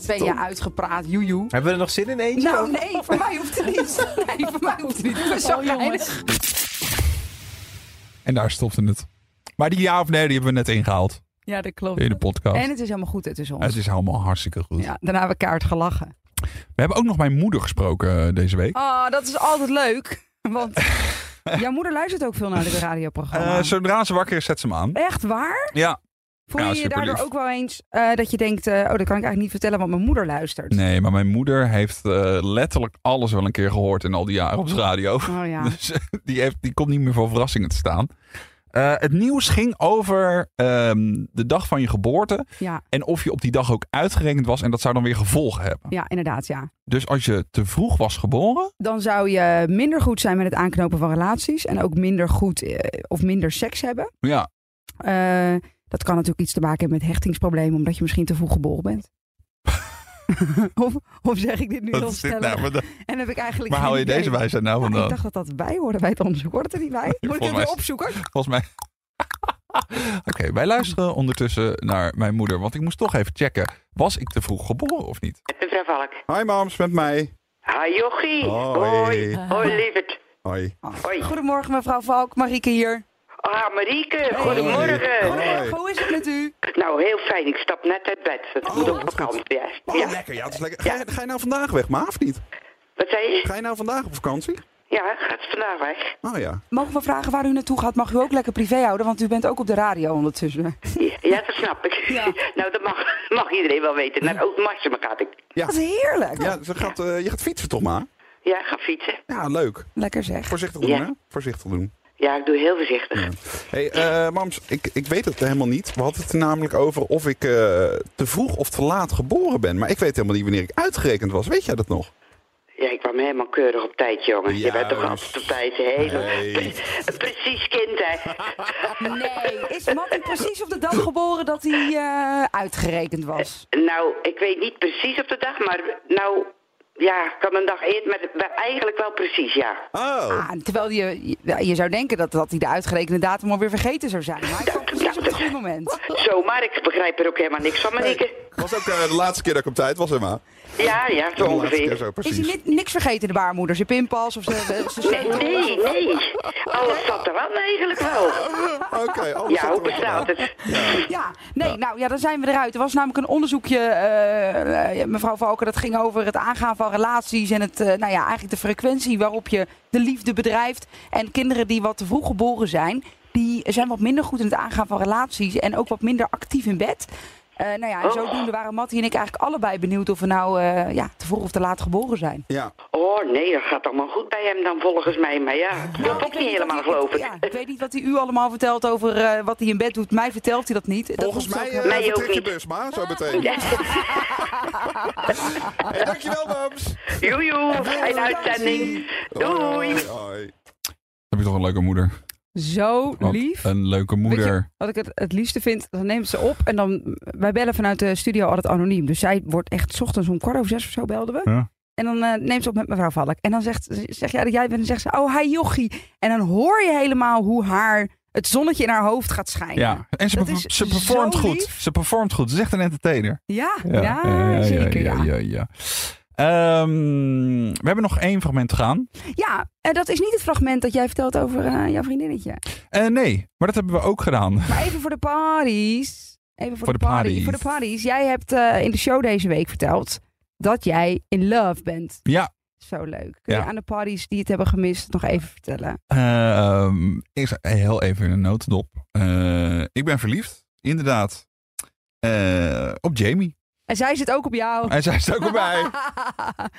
Speaker 4: ben je uitgepraat, joejoe.
Speaker 7: Hebben we er nog zin in eentje?
Speaker 4: Nou, nee, voor mij hoeft het niet. Nee, voor mij hoeft het niet. Ik ben zo heilig.
Speaker 3: En daar stopte het. Maar die ja of nee, die hebben we net ingehaald.
Speaker 4: Ja, dat klopt.
Speaker 3: In de podcast.
Speaker 4: En het is helemaal goed hè, tussen ons.
Speaker 3: Het is allemaal hartstikke goed.
Speaker 4: Ja, daarna hebben we kaart gelachen.
Speaker 3: We hebben ook nog mijn moeder gesproken eh, deze week.
Speaker 4: Oh, dat is altijd leuk. Want jouw moeder luistert ook veel naar dit radioprogramma.
Speaker 3: Eh, zodra ze wakker is, zet ze hem aan.
Speaker 4: Echt waar?
Speaker 3: Ja.
Speaker 4: Voel
Speaker 3: Ja,
Speaker 4: je je daardoor
Speaker 3: superlief.
Speaker 4: ook wel eens eh, dat je denkt... eh, oh, dat kan ik eigenlijk niet vertellen, want mijn moeder luistert.
Speaker 3: Nee, maar mijn moeder heeft eh, letterlijk alles wel een keer gehoord in al die jaren op de radio.
Speaker 4: Oh ja.
Speaker 3: Dus eh, die, heeft, die komt niet meer voor verrassingen te staan. Eh, het nieuws ging over ehm, de dag van je geboorte.
Speaker 4: Ja.
Speaker 3: En of je op die dag ook uitgerekend was. En dat zou dan weer gevolgen hebben.
Speaker 4: Ja, inderdaad, ja.
Speaker 3: Dus als je te vroeg was geboren.
Speaker 4: dan zou je minder goed zijn met het aanknopen van relaties. En ook minder goed eh, of minder seks hebben.
Speaker 3: Ja,
Speaker 4: Eh, dat kan natuurlijk iets te maken hebben met hechtingsproblemen, omdat je misschien te vroeg geboren bent. of, of zeg ik dit nu
Speaker 3: Wat
Speaker 4: heel
Speaker 3: is dit
Speaker 4: stellig?
Speaker 3: nou? Maar dat-
Speaker 4: en heb ik eigenlijk
Speaker 3: waar
Speaker 4: geen
Speaker 3: hou je
Speaker 4: idee.
Speaker 3: deze wijsheid nou
Speaker 4: Nou,
Speaker 3: vandaan?
Speaker 4: ik dacht dat dat bij hoorde bij het onderzoek. Hoort het er niet bij? Moet ik
Speaker 3: volgens
Speaker 4: het
Speaker 3: mij
Speaker 4: weer
Speaker 3: is-
Speaker 4: opzoeken?
Speaker 3: volgens mij. Oké, wij luisteren ondertussen naar mijn moeder. Want ik moest toch even checken. Was ik te vroeg geboren of niet?
Speaker 13: Mevrouw Valk.
Speaker 10: Hi, mams, met mij.
Speaker 13: Hi Jochie.
Speaker 10: Hoi.
Speaker 13: Hoi, Hoi, lieverd.
Speaker 10: Hoi.
Speaker 13: Hoi.
Speaker 4: Goedemorgen mevrouw Valk, Marieke hier.
Speaker 13: Ah, Marieke, goedemorgen.
Speaker 4: Goedemorgen, hoe is het met u?
Speaker 13: Nou, heel fijn. Ik stap net uit bed. Dat moet ook op kant, ja.
Speaker 10: Oh,
Speaker 13: ja.
Speaker 10: lekker. Ja, het is lekker. Ga, je- ga je nou vandaag weg, maar of niet?
Speaker 13: Wat zei je?
Speaker 10: Ga je nou vandaag op vakantie?
Speaker 13: Ja, gaat vandaag weg.
Speaker 10: Oh ja.
Speaker 4: Mogen we vragen waar u naartoe gaat? Mag u ook lekker privé houden, want u bent ook op de radio ondertussen.
Speaker 13: Ja, dat snap ik. nou, dat mag, mag iedereen wel weten. Nou, Naar oud Maxima gaat ik.
Speaker 10: ja.
Speaker 4: Dat is heerlijk.
Speaker 10: Ja, ze gaat, eh, je gaat fietsen toch, ma?
Speaker 13: Ja, ga fietsen.
Speaker 10: Ja, leuk.
Speaker 4: Lekker zeg.
Speaker 10: Voorzichtig doen,
Speaker 13: Ja.
Speaker 10: hè? Voorzichtig doen.
Speaker 13: Ja, ik doe heel voorzichtig.
Speaker 10: Hey, eh, Mams, ik, ik weet het helemaal niet. We hadden het er namelijk over of ik eh, te vroeg of te laat geboren ben. Maar ik weet helemaal niet wanneer ik uitgerekend was. Weet jij dat nog?
Speaker 13: Ja, ik kwam helemaal keurig op tijd, jongen. Je bent toch altijd op tijd. Helemaal.
Speaker 10: Nee.
Speaker 13: Pre- Precies kind, hè.
Speaker 4: Nee, is Mattie precies op de dag geboren dat hij eh, uitgerekend was?
Speaker 13: Nou, ik weet niet precies op de dag, maar nou, ja, ik kan een dag eerder, maar maar eigenlijk wel precies, ja.
Speaker 10: Oh.
Speaker 13: Ah,
Speaker 4: Ah, terwijl je, je- ja, je zou denken dat, dat hij de uitgerekende datum alweer vergeten zou zijn. Maar hij kwam precies op het goede moment.
Speaker 13: Zo, maar ik begrijp er ook helemaal niks van, Marieke.
Speaker 10: Was ook eh, de laatste keer dat ik op tijd was, hè, ma?
Speaker 13: Ja, ja,
Speaker 10: De
Speaker 13: zo
Speaker 10: laatste keer
Speaker 13: ongeveer.
Speaker 10: zo,
Speaker 4: Is hij
Speaker 10: precies.
Speaker 4: ni- niks vergeten, de baarmoeder? Zijn pinpas of zijn... zijn- zijn
Speaker 13: Nee,
Speaker 4: sleutel?
Speaker 13: nee, nee. Alles zat er aan eigenlijk wel.
Speaker 10: Oké, oh, alles
Speaker 13: Ja, hoe bestaat het?
Speaker 4: Ja, nee, nou ja, dan zijn we eruit. Er was namelijk een onderzoekje, eh, eh, mevrouw Valken, dat ging over het aangaan van relaties en het, eh, nou ja, eigenlijk de frequentie waarop je de liefde bedrijft. En kinderen die wat te vroeg geboren zijn, die zijn wat minder goed in het aangaan van relaties en ook wat minder actief in bed. Eh, nou
Speaker 13: Oh.
Speaker 4: ja, en zodoende waren Mattie en ik eigenlijk allebei benieuwd of we nou eh, ja, te vroeg of te laat geboren zijn.
Speaker 10: Ja.
Speaker 13: Oh nee, dat gaat allemaal goed bij hem dan volgens mij. Maar ja, dat wil ik ook niet helemaal geloven.
Speaker 4: Ja, ik weet niet wat hij u allemaal vertelt over eh, wat hij in bed doet. Mij vertelt hij dat niet. Dat
Speaker 10: Volgens
Speaker 4: hoeft
Speaker 10: mij
Speaker 4: ook-
Speaker 10: eh vertrek je bus, maar zo meteen. Hey, dankjewel, Bams.
Speaker 13: Joejoe, fijne uitzending. Doei.
Speaker 3: Heb je toch een leuke moeder?
Speaker 4: Zo
Speaker 3: Wat
Speaker 4: lief.
Speaker 3: Een leuke
Speaker 4: Weet
Speaker 3: moeder.
Speaker 4: je wat ik het, het liefste vind? Dan neemt ze op en dan... Wij bellen vanuit de studio altijd anoniem. Dus zij wordt echt 's ochtends om kwart over zes of zo belden we.
Speaker 3: Ja.
Speaker 4: En dan eh, neemt ze op met mevrouw Valk. En dan zegt, zeg jij dat jij bent en zegt ze... Oh, hi jochie. En dan hoor je helemaal hoe haar... Het zonnetje in haar hoofd gaat schijnen.
Speaker 3: Ja, en ze,
Speaker 4: Dat
Speaker 3: perf-
Speaker 4: is
Speaker 3: ze performt
Speaker 4: zo
Speaker 3: goed.
Speaker 4: lief.
Speaker 3: Ze performt goed. Ze is echt een entertainer.
Speaker 4: Ja, ja, zeker. Ja,
Speaker 3: ja, ja. Ehm, we hebben nog één fragment te gaan.
Speaker 4: Ja, eh, dat is niet het fragment dat jij vertelt over eh, jouw vriendinnetje.
Speaker 3: Eh, nee, maar dat hebben we ook gedaan.
Speaker 4: Maar even voor de parties. Even voor,
Speaker 3: Voor
Speaker 4: de,
Speaker 3: de
Speaker 4: party.
Speaker 3: parties.
Speaker 4: Voor de parties. Jij hebt eh, in de show deze week verteld dat jij in love bent.
Speaker 3: Ja.
Speaker 4: Zo leuk. Kun
Speaker 3: Ja.
Speaker 4: je aan de parties die het hebben gemist nog even vertellen?
Speaker 3: Ehm eerst heel even in een notendop. Eh, ik ben verliefd, inderdaad. Eh, op Jamie.
Speaker 4: En zij zit ook op jou.
Speaker 3: En zij is ook erbij.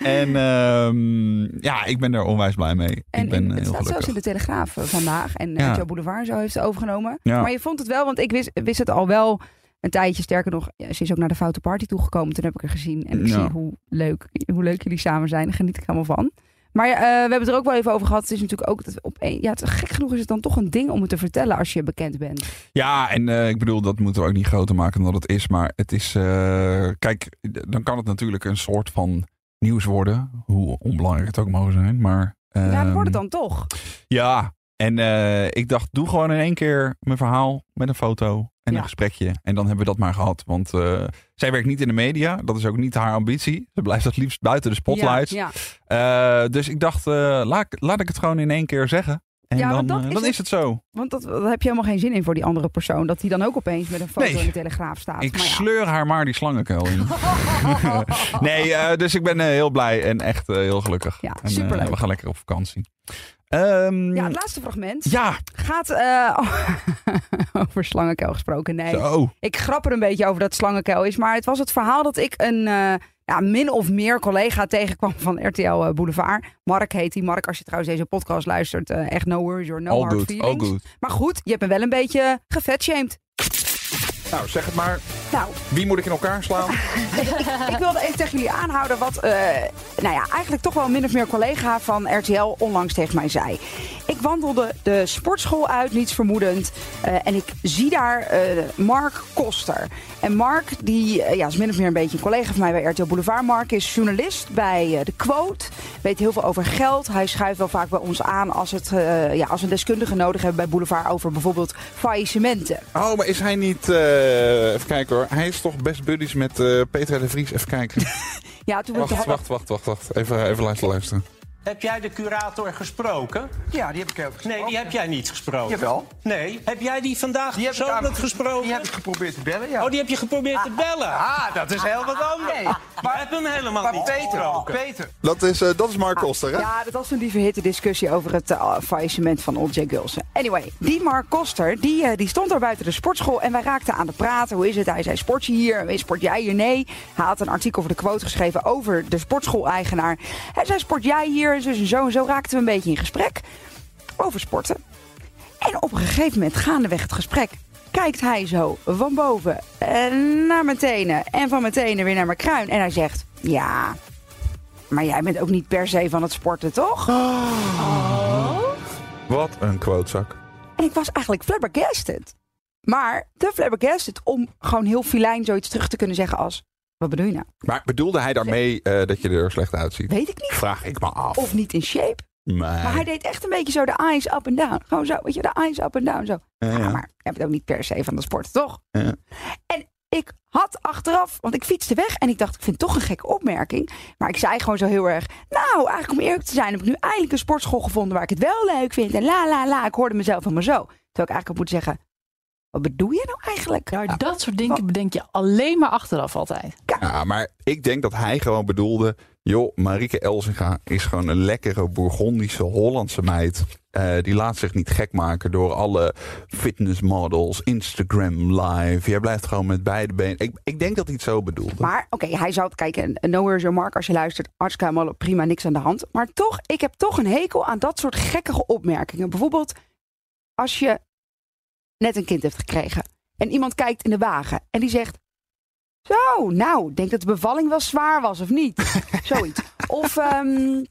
Speaker 3: en ehm, ja, ik ben er onwijs blij mee. ik ben eh,
Speaker 4: Het
Speaker 3: heel
Speaker 4: staat zelfs
Speaker 3: gelukkig.
Speaker 4: in de Telegraaf eh, vandaag. En
Speaker 3: Ja.
Speaker 4: eh Joe Boulevard zo heeft ze overgenomen.
Speaker 3: Ja.
Speaker 4: Maar je vond het wel, want ik wist, wist het al wel een tijdje. Sterker nog, ja, ze is ook naar de Foute Party toegekomen. Toen heb ik haar gezien. En ik
Speaker 3: Ja.
Speaker 4: zie hoe leuk, hoe leuk jullie samen zijn. Daar geniet ik helemaal van. Maar eh, we hebben het er ook wel even over gehad. Het is natuurlijk ook dat op één. Ja, het, gek genoeg is het dan toch een ding om het te vertellen als je bekend bent.
Speaker 3: Ja, en eh, ik bedoel, dat moeten we ook niet groter maken dan dat het is. Maar het is, eh, kijk, d- dan kan het natuurlijk een soort van nieuws worden. Hoe onbelangrijk het ook mogen zijn. Maar,
Speaker 4: ja, dat wordt het
Speaker 3: ehm,
Speaker 4: dan toch.
Speaker 3: Ja, en eh, ik dacht, doe gewoon in één keer mijn verhaal met een foto en
Speaker 4: Ja.
Speaker 3: een gesprekje. En dan hebben we dat maar gehad. Want eh, zij werkt niet in de media. Dat is ook niet haar ambitie. Ze blijft het liefst buiten de spotlights.
Speaker 4: Ja,
Speaker 3: Eh, dus ik dacht, eh, laat, ik- laat ik het gewoon in één keer zeggen. En
Speaker 4: Ja,
Speaker 3: dan,
Speaker 4: want dat
Speaker 3: eh,
Speaker 4: is
Speaker 3: dan
Speaker 4: het-
Speaker 3: is het zo.
Speaker 4: Want dat, daar heb je helemaal geen zin in voor die andere persoon. Dat die dan ook opeens met een foto
Speaker 3: Nee.
Speaker 4: in de Telegraaf staat.
Speaker 3: Ik
Speaker 4: Maar ja.
Speaker 3: sleur haar maar die slangenkuil in. nee, eh, dus ik ben eh, heel blij en echt eh, heel gelukkig.
Speaker 4: Ja,
Speaker 3: en, eh,
Speaker 4: superleuk.
Speaker 3: we gaan lekker op vakantie. Ehm,
Speaker 4: Ja, het laatste fragment.
Speaker 3: Ja.
Speaker 4: Gaat eh, over slangenkuil gesproken. Nee.
Speaker 3: Zo.
Speaker 4: Ik grap er een beetje over dat slangenkuil is. Maar het was het verhaal dat ik een eh, ja, min of meer collega tegenkwam van RTL eh, Boulevard. Mark heet die. Mark, als je trouwens deze podcast luistert, eh, echt no worries or no
Speaker 3: All
Speaker 4: hard
Speaker 3: good, all
Speaker 4: feelings.
Speaker 3: good.
Speaker 4: Maar goed, je hebt me wel een beetje gevetshamed.
Speaker 3: Nou, zeg het maar.
Speaker 4: Nou,
Speaker 3: Wie moet ik in elkaar slaan?
Speaker 4: ik, ik wilde even tegen jullie aanhouden wat, eh, nou ja, eigenlijk toch wel min of meer collega van RTL onlangs tegen mij zei. Ik wandelde de sportschool uit, niets vermoedend, eh, en ik zie daar eh, Mark Koster. En Mark, die eh, ja, is min of meer een beetje een collega van mij bij RTL Boulevard. Mark is journalist bij eh, de Quote, weet heel veel over geld. Hij schuift wel vaak bij ons aan als, het, eh, ja, als we deskundigen nodig hebben bij Boulevard over bijvoorbeeld faillissementen.
Speaker 10: Oh, maar is hij niet... eh, even kijken hoor. Hij is toch best buddies met eh, Petra de Vries. Even kijken.
Speaker 4: Ja,
Speaker 3: Oh,
Speaker 4: toen we het
Speaker 10: wacht, wacht, wacht, wacht, wacht. Even, even laten luisteren.
Speaker 14: Heb jij de curator gesproken?
Speaker 15: Ja, die heb ik ook
Speaker 14: Nee, die heb jij niet gesproken.
Speaker 15: Jawel.
Speaker 14: Nee. Heb jij die vandaag
Speaker 15: Die heb ik
Speaker 14: persoonlijk
Speaker 15: aan-
Speaker 14: gesproken?
Speaker 15: Die heb ik geprobeerd te bellen, ja.
Speaker 14: Oh, die heb je geprobeerd te bellen?
Speaker 15: Ah, dat is heel wat anders.
Speaker 14: Nee, maar heb hem helemaal
Speaker 15: Maar
Speaker 14: niet
Speaker 15: Peter,
Speaker 14: gesproken.
Speaker 15: Peter.
Speaker 10: Dat is, eh, dat is Mark Koster, hè?
Speaker 4: Ah, Ja, dat was een die verhitte discussie over het eh, faillissement van O.J. Gulsen. Anyway, die Mark Koster, die, eh, die stond daar buiten de sportschool en wij raakten aan de praten. Hoe is het? Hij zei, sport je hier? Eh, Sport jij hier? Nee. Hij had een artikel voor de quote geschreven over de sportschool-eigenaar. Hij zei, sport jij hier? Dus en zo en zo raakten we een beetje in gesprek over sporten. En op een gegeven moment, gaandeweg het gesprek, kijkt hij zo van boven eh, naar mijn tenen en van mijn tenen weer naar mijn kruin. En hij zegt, ja, maar jij bent ook niet per se van het sporten, toch?
Speaker 10: Wat een quotezak.
Speaker 4: En ik was eigenlijk flabbergasted. Maar te flabbergasted om gewoon heel filijn zoiets terug te kunnen zeggen als... Wat bedoel je nou?
Speaker 10: Maar bedoelde hij daarmee eh, dat je er slecht uitziet?
Speaker 4: Weet ik niet.
Speaker 10: Vraag ik me af.
Speaker 4: Of niet in shape. Maar hij deed echt een beetje zo de eyes up and down. Gewoon zo, weet je, de eyes up and down. Zo.
Speaker 10: Ja, ja.
Speaker 4: Maar jij bent ook niet per se van de sport, toch?
Speaker 10: Ja.
Speaker 4: En ik had achteraf, want ik fietste weg en ik dacht, ik vind het toch een gekke opmerking. Maar ik zei gewoon zo heel erg, nou, eigenlijk om eerlijk te zijn, heb ik nu eindelijk een sportschool gevonden waar ik het wel leuk vind. En la la la, ik hoorde mezelf helemaal zo. Terwijl ik eigenlijk had moeten zeggen, Wat bedoel je nou eigenlijk?
Speaker 6: Nou, dat soort dingen bedenk je alleen maar achteraf altijd.
Speaker 3: Ja, maar ik denk dat hij gewoon bedoelde... joh, Marieke Elsinga is gewoon een lekkere Bourgondische Hollandse meid. Eh, die laat zich niet gek maken door alle fitnessmodels, Instagram live. Jij blijft gewoon met beide benen. Ik, ik denk dat hij het zo bedoelde.
Speaker 4: Maar oké, hij zou het kijken. En Nowhere's Your Mark, als je luistert, hartstikke helemaal prima, niks aan de hand. Maar toch, ik heb toch een hekel aan dat soort gekkige opmerkingen. Bijvoorbeeld, als je net een kind hebt gekregen en iemand kijkt in de wagen en die zegt... Zo, nou, ik denk dat de bevalling wel zwaar was of niet. Zoiets. Of ehm,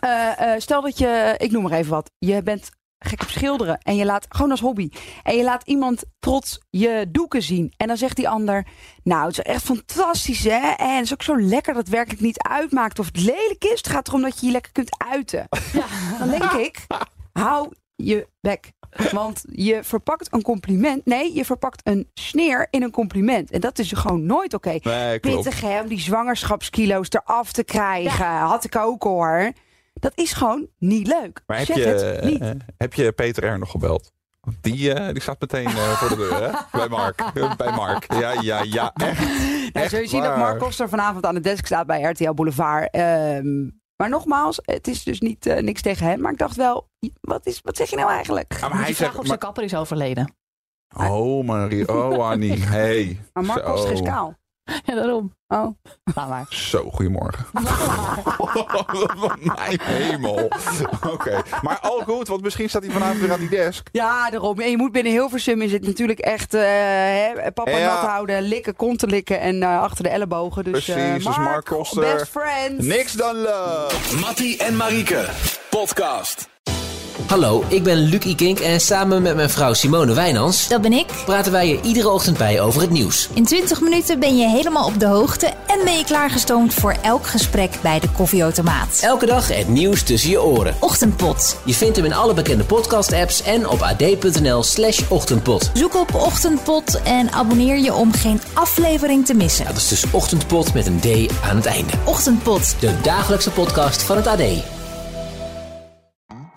Speaker 4: eh, eh, stel dat je, ik noem maar even wat, je bent gek op schilderen en je laat, gewoon als hobby, en je laat iemand trots je doeken zien. En dan zegt die ander, nou het is echt fantastisch hè, en het is ook zo lekker dat het werkelijk niet uitmaakt of het lelijk is. Het gaat erom dat je je lekker kunt uiten. Dan denk ik, hou je bek. Want je verpakt een compliment. Nee, je verpakt een sneer in een compliment. En dat is gewoon nooit oké.
Speaker 3: Nee, klopt.
Speaker 4: Pittig hè, om die zwangerschapskilo's eraf te krijgen. Had ik ook hoor. Dat is gewoon niet leuk.
Speaker 3: Maar heb
Speaker 4: zeg
Speaker 3: je,
Speaker 4: het niet.
Speaker 3: eh, heb je Peter R. nog gebeld? Want Die, eh, die staat meteen eh, voor de deur, hè? Bij Mark. Bij Mark. Ja, ja, ja. Echt.
Speaker 4: Nou, zul je zien dat
Speaker 3: waar.
Speaker 4: Mark Koster vanavond aan de desk staat bij RTL Boulevard. Ehm, maar nogmaals, het is dus niet, eh, niks tegen hem. Maar ik dacht wel, wat, is, wat zeg je nou eigenlijk?
Speaker 3: Ja, maar hij
Speaker 6: Vraag
Speaker 3: zegt...
Speaker 6: of zijn kapper is overleden.
Speaker 3: maar- oh, Marie. Oh, Annie. Hey.
Speaker 4: Maar Mark Koster is
Speaker 3: Zo.
Speaker 4: kaal.
Speaker 6: Ja, daarom.
Speaker 4: Oh.
Speaker 6: Laat maar.
Speaker 3: Zo, goedemorgen. Mijn hemel. Oké. Maar al goed, want misschien staat hij vanavond weer aan die desk.
Speaker 4: Ja, daarom. En je moet binnen Hilversum is het natuurlijk echt eh, hè, papa
Speaker 3: Ja.
Speaker 4: nat houden, likken, konten likken en eh, achter de ellebogen. Dus, eh,
Speaker 3: Precies, dus Mark Koster.
Speaker 4: Best friends.
Speaker 3: Niks dan love.
Speaker 8: Mattie en Marieke, podcast.
Speaker 1: Hallo, ik ben Luc Ikink en samen met mijn vrouw Simone Wijnands...
Speaker 2: Dat ben ik.
Speaker 1: praten wij je iedere ochtend bij over het nieuws.
Speaker 2: In 20 minuten ben je helemaal op de hoogte en ben je klaargestoomd voor elk gesprek bij de koffieautomaat.
Speaker 1: Elke dag het nieuws tussen je oren.
Speaker 2: Ochtendpot.
Speaker 1: Je vindt hem in alle bekende podcast-apps en op ad.nl slash ochtendpot.
Speaker 2: Zoek op Ochtendpot en abonneer je om geen aflevering te missen.
Speaker 1: Dat is dus ochtendpot met een D aan het einde.
Speaker 2: Ochtendpot.
Speaker 1: De dagelijkse podcast van het AD.